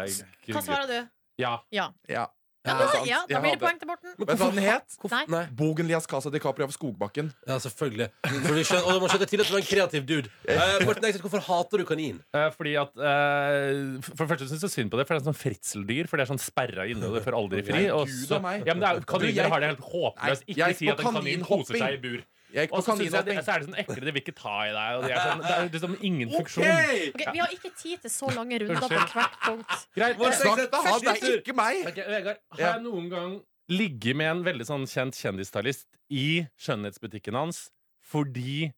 Speaker 4: Hva svarer du?
Speaker 11: Ja.
Speaker 4: Ja. Ja,
Speaker 14: det er
Speaker 4: da-
Speaker 14: sant.
Speaker 4: ja, da
Speaker 14: Jeg
Speaker 4: blir det
Speaker 14: hadde-
Speaker 4: poeng til Morten.
Speaker 14: Vet du hva den het?
Speaker 4: Nei.
Speaker 14: Bogen Lias Casa de Capri av Skogbakken.
Speaker 2: Ja, selvfølgelig. For vi skjønner, og man skjønner tidlig at du er en kreativ dude. Eh, Morten Ekseth, hvorfor hater du kanin?
Speaker 11: Eh, Fordi at eh, For det første syns jeg synd på det, for det er sånn fritseldyr. For det er sånn sperra inne, og det får aldri fri.
Speaker 14: Nei,
Speaker 11: Og
Speaker 14: Gud
Speaker 11: så,
Speaker 14: av meg.
Speaker 11: ja, men det
Speaker 14: Du,
Speaker 11: er,
Speaker 14: jeg-
Speaker 11: kaniner har det helt håpløst.
Speaker 14: Nei,
Speaker 11: Ikke
Speaker 14: jeg
Speaker 11: si
Speaker 14: gikk
Speaker 11: at
Speaker 14: på
Speaker 11: en kanin koser seg i
Speaker 14: kaninhopping.
Speaker 11: bur.
Speaker 14: Jeg gikk på
Speaker 11: Og så synes jeg det,
Speaker 14: kaninhopping.
Speaker 11: så er det sånn ekle, det vil ikke ta i deg. Og det, er sånn, det er liksom ingen funksjon.
Speaker 4: Ok, vi har ikke tid til så lange runder på
Speaker 11: Unnskyld.
Speaker 4: hvert punkt.
Speaker 11: Greit,
Speaker 4: Vår
Speaker 11: Snakk-
Speaker 4: sekretær, han
Speaker 11: Første
Speaker 4: er
Speaker 11: tur.
Speaker 14: ikke meg.
Speaker 11: Ok, Vegard, har
Speaker 14: Ja.
Speaker 11: jeg noen gang ligget med en veldig sånn kjent kjendisstylist i skjønnhetsbutikken hans fordi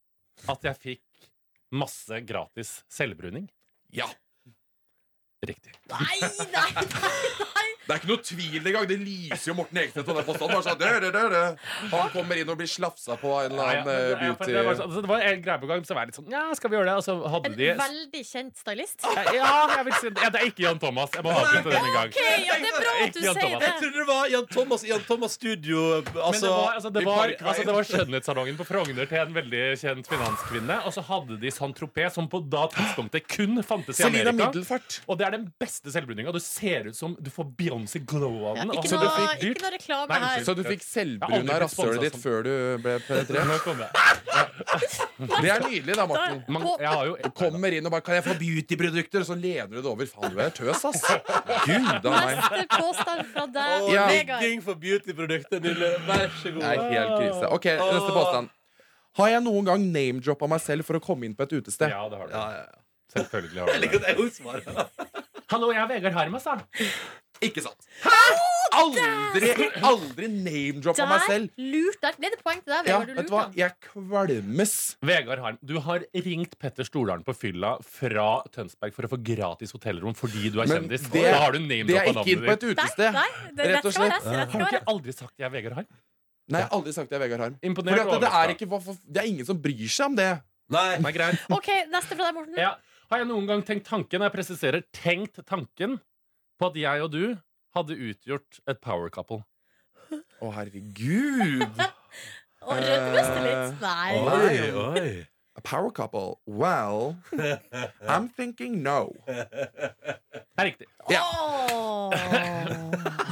Speaker 11: at jeg fikk masse gratis selvbruning?
Speaker 14: Ja.
Speaker 11: Riktig.
Speaker 4: Nei, nei,
Speaker 14: Det er ikke noe tvil engang. Det lyser jo Morten Ekstedt og den påstanden. Bare sånn, dø, dø, dø, dø. Han kommer inn og blir slafsa på av en eller
Speaker 11: Ja,
Speaker 14: annen
Speaker 11: men-
Speaker 14: eh,
Speaker 11: ja, for
Speaker 14: beauty.
Speaker 11: det, var, så- altså, det var en greie på gang, så var jeg litt sånn Ja, skal vi gjøre det? Og så hadde de
Speaker 4: Veldig kjent stylist.
Speaker 14: Eh,
Speaker 11: Ja, jeg vil si ja, Det er ikke Jan Thomas. Jeg må avslutte denne gang.
Speaker 4: Ok, ja, det er bra at du
Speaker 11: Ikke Jan
Speaker 4: sier
Speaker 11: Thomas.
Speaker 4: det.
Speaker 2: Jeg trodde det var Jan Thomas Jan Thomas Studio
Speaker 11: Men det var, altså, det, var, altså, det var
Speaker 2: skjønt.
Speaker 11: skjønnhetssalongen på Frogner til en veldig kjent finanskvinne. Og så hadde de Saint-Tropez, som på da tidspunktet kun fantes i
Speaker 14: Selina
Speaker 11: Amerika.
Speaker 14: Middelfart.
Speaker 11: Og det er den beste selvbruninga. Du ser ut som du får Beyoncé glow av
Speaker 4: Ja,
Speaker 11: den. og
Speaker 4: ikke,
Speaker 11: så du
Speaker 4: noe,
Speaker 11: fikk dyrt.
Speaker 4: ikke noe reklame
Speaker 11: Nei,
Speaker 4: her.
Speaker 11: unnskyld.
Speaker 14: Så du fikk
Speaker 11: Jeg har
Speaker 14: selvbruna
Speaker 11: aldri blitt sånn. sponset
Speaker 14: rasshølet ditt
Speaker 11: som-
Speaker 14: før du ble
Speaker 11: Nå
Speaker 14: penetrert?
Speaker 11: kom jeg.
Speaker 14: Det er nydelig, da, Morten.
Speaker 11: Man- jeg har jo-
Speaker 14: Du kommer inn og bare 'Kan jeg få beautyprodukter?' Og så leder du det over. Faen, du er tøs, ass. Gud av meg.
Speaker 4: Neste påstand fra deg,
Speaker 14: Ja.
Speaker 4: Vegard.
Speaker 2: for beautyprodukter, Nille. Vær så god.
Speaker 14: Nei, helt krise. Ok, neste påstand. Har jeg noen gang name-droppa meg selv for å komme inn på et utested?
Speaker 11: Ja, det har du. Selvfølgelig
Speaker 2: Jeg
Speaker 11: har du
Speaker 2: liker
Speaker 11: det.
Speaker 2: at jeg også svarer.
Speaker 11: Hallo, jeg er Vegard altså. Harmas, da.
Speaker 14: Ikke sant. Aldri, aldri name-droppa meg
Speaker 4: Der,
Speaker 14: selv.
Speaker 4: lurt, der ble det poeng til deg,
Speaker 14: Ja,
Speaker 4: Vegard. Du
Speaker 14: vet du
Speaker 4: lurte
Speaker 14: hva?
Speaker 4: han.
Speaker 14: Jeg kvalmes.
Speaker 11: Vegard Harm, du har ringt Petter Stordalen på fylla fra Tønsberg for å få gratis hotellrom fordi du er
Speaker 14: Men
Speaker 11: kjendis.
Speaker 14: det-
Speaker 11: da har du name
Speaker 14: Det er ikke inn på et
Speaker 4: Nei,
Speaker 14: utested.
Speaker 4: nei, det
Speaker 14: Rett og
Speaker 4: rett skal være rett,
Speaker 14: slett.
Speaker 4: rett skal
Speaker 11: Har du
Speaker 4: være
Speaker 11: ikke aldri sagt jeg er Vegard Harm?
Speaker 14: Nei, jeg har aldri sagt det er Vegard Harm. Fordi
Speaker 11: Imponert
Speaker 14: at det, det,
Speaker 11: overraska.
Speaker 14: er ikke, hva for- det er ingen som bryr seg om det.
Speaker 2: Nei.
Speaker 11: Nei, greit.
Speaker 4: rett. OK, neste fra deg, Morten.
Speaker 11: Ja. Har jeg noen gang tenkt tanken Jeg presiserer tenkt tanken på at jeg og du hadde utgjort et power couple.
Speaker 14: Å, herregud!
Speaker 4: Og rødmes det litt? Nei.
Speaker 2: Oi, oi.
Speaker 14: A power couple. Well, I'm thinking no.
Speaker 11: Det er riktig.
Speaker 14: Ja.
Speaker 4: Åh.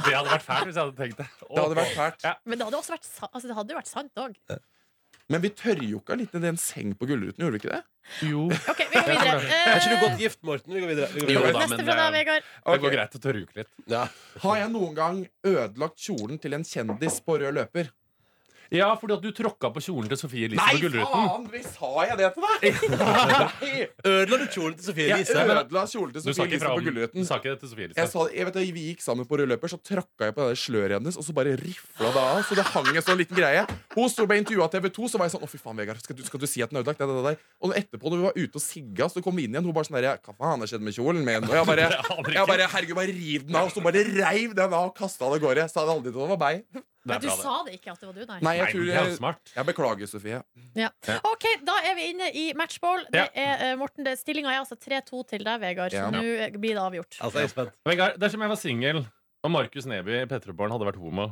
Speaker 11: Det hadde vært fælt hvis jeg hadde tenkt det.
Speaker 14: Det hadde vært fælt.
Speaker 11: Ja.
Speaker 4: Men det hadde også vært, sa- altså, det hadde jo vært sant òg.
Speaker 14: Men vi tørrjokka litt ned i en seng på Gullruten, gjorde vi ikke det?
Speaker 11: Jo.
Speaker 4: OK, vi går videre.
Speaker 2: Er ikke du
Speaker 4: Eh,
Speaker 2: godt gift, Morten? Vi går videre. Vi går
Speaker 11: Jo
Speaker 2: videre.
Speaker 11: da,
Speaker 4: neste
Speaker 11: men
Speaker 4: fra deg,
Speaker 11: det,
Speaker 4: Vegard.
Speaker 11: det
Speaker 14: Ok.
Speaker 11: går greit å tørruke litt.
Speaker 2: Ja.
Speaker 14: Har jeg noen gang ødelagt kjolen til en kjendis på rød løper?
Speaker 11: Ja, fordi at du tråkka på kjolen til Sofie Elise på Gullruten.
Speaker 14: faen! Hvis har jeg det til deg? Nei!
Speaker 2: Ødela du kjolen til Sofie
Speaker 14: Jeg
Speaker 2: Elise?
Speaker 14: ødela kjolen til
Speaker 11: Du sa
Speaker 14: Sofie
Speaker 11: ikke
Speaker 14: Elise
Speaker 11: fra
Speaker 14: på
Speaker 11: om du
Speaker 14: Gullruten.
Speaker 11: sa ikke det til Sofie Elise.
Speaker 14: Jeg sa, jeg vet, da vi gikk sammen på rød løper, så tråkka jeg på det der sløret hennes, og så bare rifla det av. Så det hang en sånn liten greie. Hun sto og ble intervjua av TV2, så var jeg sånn Å, fy faen, Vegard, skal du, skal du si at den er ødelagt? Det, det, det, det. Og etterpå, når vi var ute og sigga, så kom vi inn igjen, hun bare sånn derre Hva faen har skjedd med kjolen min? Og jeg bare, jeg bare Herregud, bare riv den av. Og så hun bare reiv den av og kasta den av gårde. Jeg sa det aldri til den var meg.
Speaker 11: Det
Speaker 4: Nei,
Speaker 11: er
Speaker 4: du
Speaker 11: bra, det.
Speaker 4: sa det ikke at det var du, nei.
Speaker 14: Nei,
Speaker 11: Nei,
Speaker 14: jeg tror
Speaker 11: det er
Speaker 14: jeg,
Speaker 11: smart.
Speaker 14: jeg beklager, Sofie.
Speaker 4: Ja. OK, da er vi inne i matchball. Det
Speaker 11: Ja.
Speaker 4: er, eh, Morten, det- Stillinga er altså 3-2 til deg, Vegard, så
Speaker 14: Ja.
Speaker 4: nå eh, blir det avgjort.
Speaker 2: Altså, jeg er spent.
Speaker 11: Vegard, dersom jeg var singel, og Markus Neby i Petterborn hadde vært homo,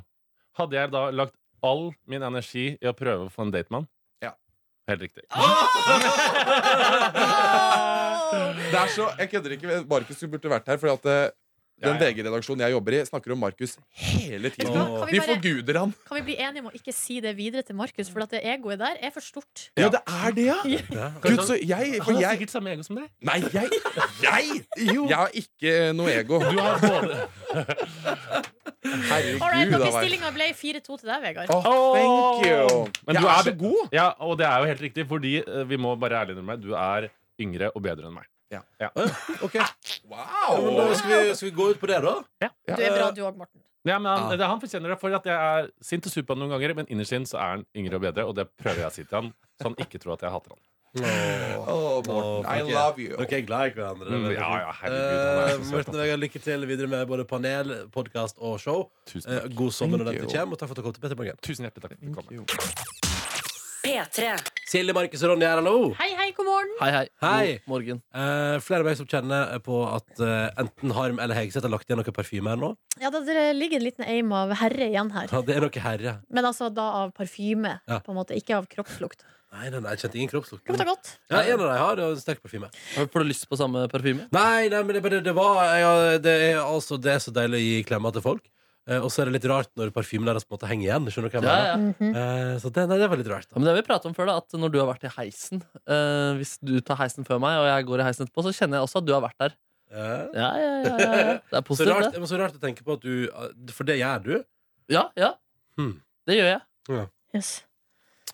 Speaker 11: hadde jeg da lagt all min energi i å prøve å få en datemann?
Speaker 14: Ja.
Speaker 11: Helt riktig.
Speaker 14: Det er så, jeg kødder ikke. Markus burde vært her. Fordi at eh, den
Speaker 11: Ja, ja.
Speaker 14: VG-redaksjonen jeg jobber i, snakker om Markus hele
Speaker 4: Vet
Speaker 14: tiden.
Speaker 4: du hva, kan vi
Speaker 14: De
Speaker 4: bare-
Speaker 14: forguder han.
Speaker 4: Kan vi bli enige om å ikke si det videre til Markus, for at det egoet der er for stort?
Speaker 14: Ja, det er det, ja! Gud, så jeg,
Speaker 11: Han
Speaker 14: for
Speaker 11: har
Speaker 14: jeg
Speaker 11: sikkert samme ego som deg.
Speaker 14: Nei, jeg Jeg, jeg har ikke noe ego.
Speaker 11: Du har både
Speaker 14: Herregud,
Speaker 4: All right,
Speaker 14: da
Speaker 4: ok,
Speaker 14: vel.
Speaker 4: Stillinga ble 4-2 til deg, Vegard.
Speaker 14: Å, thank you.
Speaker 11: Men
Speaker 14: jeg
Speaker 11: du
Speaker 14: er,
Speaker 11: er
Speaker 14: så god.
Speaker 11: Ja, og det er jo helt riktig, fordi eh, vi må bare ærlig innrømme meg, du er yngre og bedre enn meg.
Speaker 2: Ok. Ja, men
Speaker 14: Wow!
Speaker 2: da skal, vi, skal vi gå ut på det, da?
Speaker 4: Du er bra, du òg, Morten.
Speaker 11: Ja, men
Speaker 14: Ah.
Speaker 11: han, det, han fortjener det for at jeg er sint og sur på han noen ganger, men innerst inne så er han yngre og bedre, og det prøver jeg å si til han, så han ikke tror at jeg hater han.
Speaker 14: Å, Morten, I
Speaker 2: Åh,
Speaker 14: love you.
Speaker 2: Dere er glad i hverandre. det er
Speaker 11: Mm,
Speaker 2: veldig
Speaker 11: ja,
Speaker 2: fint.
Speaker 11: ja, herregud, han er så
Speaker 2: Eh,
Speaker 11: søt, altså.
Speaker 2: Morten og Vegard, lykke til videre med både panel, podkast og show.
Speaker 11: Tusen
Speaker 2: Eh,
Speaker 11: takk.
Speaker 2: god sommer når
Speaker 14: Thank
Speaker 2: dette
Speaker 14: you.
Speaker 2: kommer, og takk for at dere kom til Petter Morgen.
Speaker 11: Tusen hjertelig takk for at du kom.
Speaker 1: P3.
Speaker 2: Silje, Markus og Ronny her, hallo.
Speaker 4: Hei, hei, god morgen.
Speaker 3: Hei, hei.
Speaker 2: Hei.
Speaker 3: God morgen.
Speaker 2: Eh, flere av meg som kjenner på at eh, enten Harm eller Hegseth har lagt igjen noe parfyme her nå.
Speaker 4: Ja, da, Det ligger en liten eim av herre igjen her.
Speaker 2: Ja, det er noe herre.
Speaker 4: Men altså da av parfyme,
Speaker 2: Ja.
Speaker 4: på en måte. Ikke av kroppslukt.
Speaker 2: Nei, nei, nei, jeg kjente ingen kroppslukt.
Speaker 4: Lukta godt.
Speaker 2: Ja, en av dem har eh, sterk parfyme.
Speaker 3: Får du lyst på samme parfyme?
Speaker 2: Nei, nei, men det, bare- det var jeg, det, er, altså, det er så deilig å gi klemmer til folk. Eh, Og så er det litt rart når parfymen deres på en måte henger igjen. Skjønner du hva jeg
Speaker 3: Ja, Mm. ja.
Speaker 4: Mm.
Speaker 2: mener? Eh, Så det, nei, det er veldig rart.
Speaker 3: Ja, men det har vi pratet om før da, at Når du har vært i heisen eh, Hvis du tar heisen før meg, og jeg går i heisen etterpå, så kjenner jeg også at du har vært der. Ja, ja, ja, ja, ja. Det er
Speaker 2: så
Speaker 3: positivt,
Speaker 2: Eh, rart,
Speaker 3: det.
Speaker 2: men Så rart å tenke på at du eh, For det gjør du.
Speaker 3: Ja, ja. Det gjør jeg.
Speaker 2: Ja.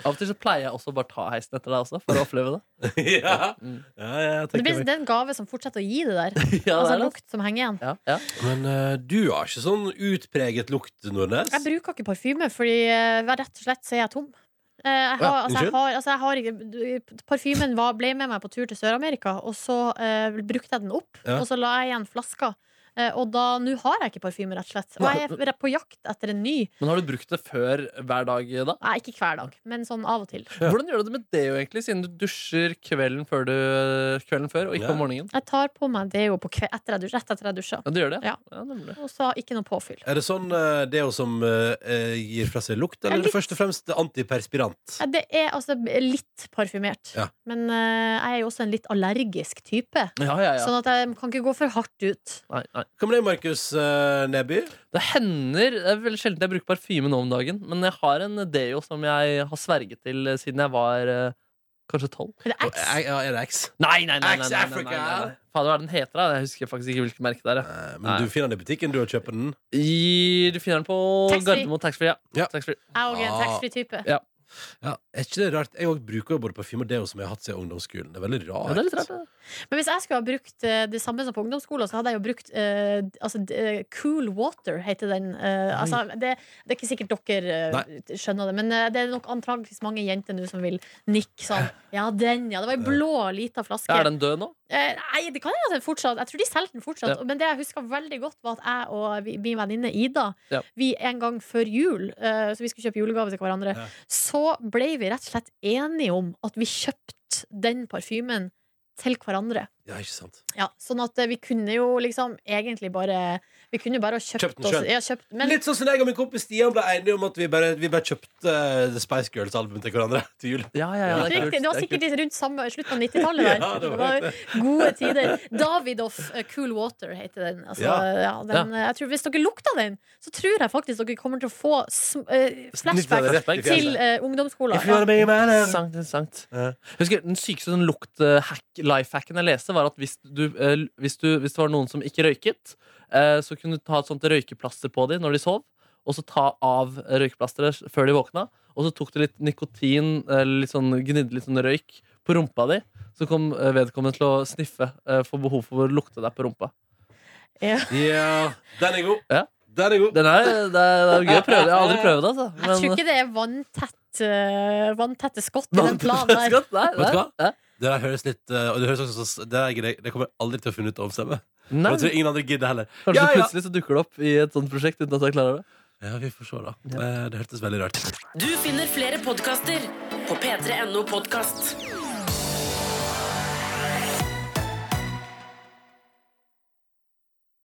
Speaker 3: Av og til så pleier jeg også å bare ta heisen etter deg også, for å oppleve det.
Speaker 2: ja. jeg
Speaker 4: Det
Speaker 2: tenker
Speaker 4: blir
Speaker 2: meg.
Speaker 4: det er en gave som fortsetter å gi det der.
Speaker 3: Ja, det
Speaker 4: altså
Speaker 3: er det.
Speaker 4: lukt som henger igjen.
Speaker 2: Men eh, du har ikke sånn utpreget lukt, Nordnes.
Speaker 4: Jeg bruker ikke parfyme, fordi eh, rett og slett så er jeg tom. Eh, Jeg har,
Speaker 2: Ja,
Speaker 4: altså,
Speaker 2: unnskyld?
Speaker 4: jeg har, altså, jeg har ikke du- Parfymen var, ble med meg på tur til Sør-Amerika, og så eh, brukte jeg den opp.
Speaker 13: Ja.
Speaker 4: Og så la jeg igjen flaska. Eh, og da, nå har jeg ikke parfyme, rett og slett. Og jeg er på jakt etter en ny.
Speaker 3: Men har du brukt det før hver dag, da?
Speaker 4: Nei, ikke hver dag, men sånn av og til.
Speaker 3: Hvordan gjør du det med deo, egentlig, siden du dusjer kvelden før, du, kvelden før og ikke om morgenen?
Speaker 4: Jeg tar på meg det jo på kve etter jeg dusj, rett etter jeg dusja.
Speaker 3: Ja, du gjør det?
Speaker 4: Ja. Og så ikke noe påfyll.
Speaker 2: Er det sånn eh, det er jo som eh, eh, gir fra seg lukt, eller
Speaker 4: Ja,
Speaker 2: er det
Speaker 4: litt.
Speaker 2: først og fremst antiperspirant?
Speaker 4: Ja, Det er altså litt parfymert.
Speaker 2: Ja.
Speaker 4: Men eh, jeg er jo også en litt allergisk type.
Speaker 2: Ja, ja, ja.
Speaker 4: Sånn at jeg kan ikke gå for hardt ut.
Speaker 3: Nei, nei.
Speaker 2: Hva med deg, Markus eh, Neby?
Speaker 3: Det hender Det er veldig sjelden jeg bruker parfyme nå om dagen, men jeg har en deo som jeg har sverget til eh, siden jeg var eh, kanskje tolv.
Speaker 4: Er det X?
Speaker 2: eh, Ja, er det X?
Speaker 3: Nei, nei, nei. nei,
Speaker 2: Axe
Speaker 3: nei, nei, nei,
Speaker 2: Africa.
Speaker 3: nei. Fader, hva er den heter? da? Jeg husker faktisk ikke hvilken merke det er. jeg.
Speaker 2: Eh, Men du finner den i butikken, du, og kjøper den?
Speaker 3: I, du finner den på
Speaker 4: Taxfree.
Speaker 3: Gardermoen taxfree. Ja. Taxfree.
Speaker 4: Jeg er også en taxfree-type.
Speaker 3: Ja.
Speaker 2: Ja, er ikke det rart? Jeg også bruker jo både parfyme og deo som jeg har hatt siden ungdomsskolen. Det er veldig rart.
Speaker 4: Men hvis jeg skulle ha brukt eh, det samme som på ungdomsskolen, så hadde jeg jo brukt eh, altså, d- eh, Cool Water, heter den. Eh, altså, det, det er ikke sikkert dere eh, skjønner det, men eh, det er nok antageligvis mange jenter nå som vil nikke sånn. Ja, den, ja. Det var ei blå, lita flaske.
Speaker 3: Er den død nå?
Speaker 4: Eh, Nei, det kan hende at den fortsatt Jeg tror de solgte den fortsatt.
Speaker 3: Ja.
Speaker 4: Men det jeg husker veldig godt, var at jeg og vi- min venninne Ida
Speaker 3: Ja.
Speaker 4: Vi en gang før jul, eh, så vi skulle kjøpe julegave til hverandre,
Speaker 3: Ja.
Speaker 4: så ble vi rett og slett enige om at vi kjøpte den parfymen til hverandre.
Speaker 2: Ja, ikke sant?
Speaker 4: Ja, sånn at eh, vi kunne jo liksom egentlig bare Vi kunne jo bare ha kjøpt
Speaker 2: Kjøpt den
Speaker 4: oss
Speaker 2: selv.
Speaker 4: ja, kjøpt, men,
Speaker 2: Litt sånn som jeg og min kompis Stian ble enige om at vi bare, vi bare kjøpte eh, The Spice Girls-albumet til hverandre til jul.
Speaker 3: Ja,
Speaker 4: det, riktig, det var sikkert rundt samme, slutten av 90-tallet. der.
Speaker 2: Ja, det
Speaker 4: det
Speaker 2: var
Speaker 4: var
Speaker 2: det.
Speaker 4: gode tider. Davidoff eh, Cool Water heter den. Altså,
Speaker 2: Ja.
Speaker 4: ja. den eh, jeg tror, hvis dere lukter den, så tror jeg faktisk dere kommer til å få sm eh, flashbacks
Speaker 3: Flashbacks.
Speaker 4: til eh, ungdomsskolen. Ja.
Speaker 2: eh.
Speaker 3: Sant, sant. Husker, den sykeste sånn lukt-hack, life-hacken jeg leste, var at hvis, du, eh, l- hvis, du, hvis det var noen som ikke røyket, eh, så kunne du ta et sånt røykeplaster på dem når de sov, og så ta av røykeplasteret før de våkna, og så tok du litt nikotin, eh, litt sånn, gnidde litt sånn røyk på rumpa di, så kom eh, vedkommende til å sniffe, eh, få behov for å lukte deg på rumpa.
Speaker 4: Ja.
Speaker 2: den er god.
Speaker 3: Ja.
Speaker 2: Den er god.
Speaker 3: det, er, det er gøy å prøve det. Jeg har aldri prøvd det, altså.
Speaker 4: Jeg tror ikke det er vanntett eh, vanntette skott i den planen der.
Speaker 2: Vet du hva? Det der høres litt eh, Og det høres også så- det, er greit. det kommer jeg aldri til å finne ut av å stemme. Og
Speaker 3: Nei.
Speaker 2: Jeg tror ingen andre gidder heller.
Speaker 3: Kanskje
Speaker 2: Ja, ja.
Speaker 3: plutselig så dukker det opp i et sånt prosjekt uten at jeg klarer det.
Speaker 2: Ja, vi får se, da. Eh, Det hørtes veldig rart ut.
Speaker 1: Du finner flere podkaster på p3.no podkast.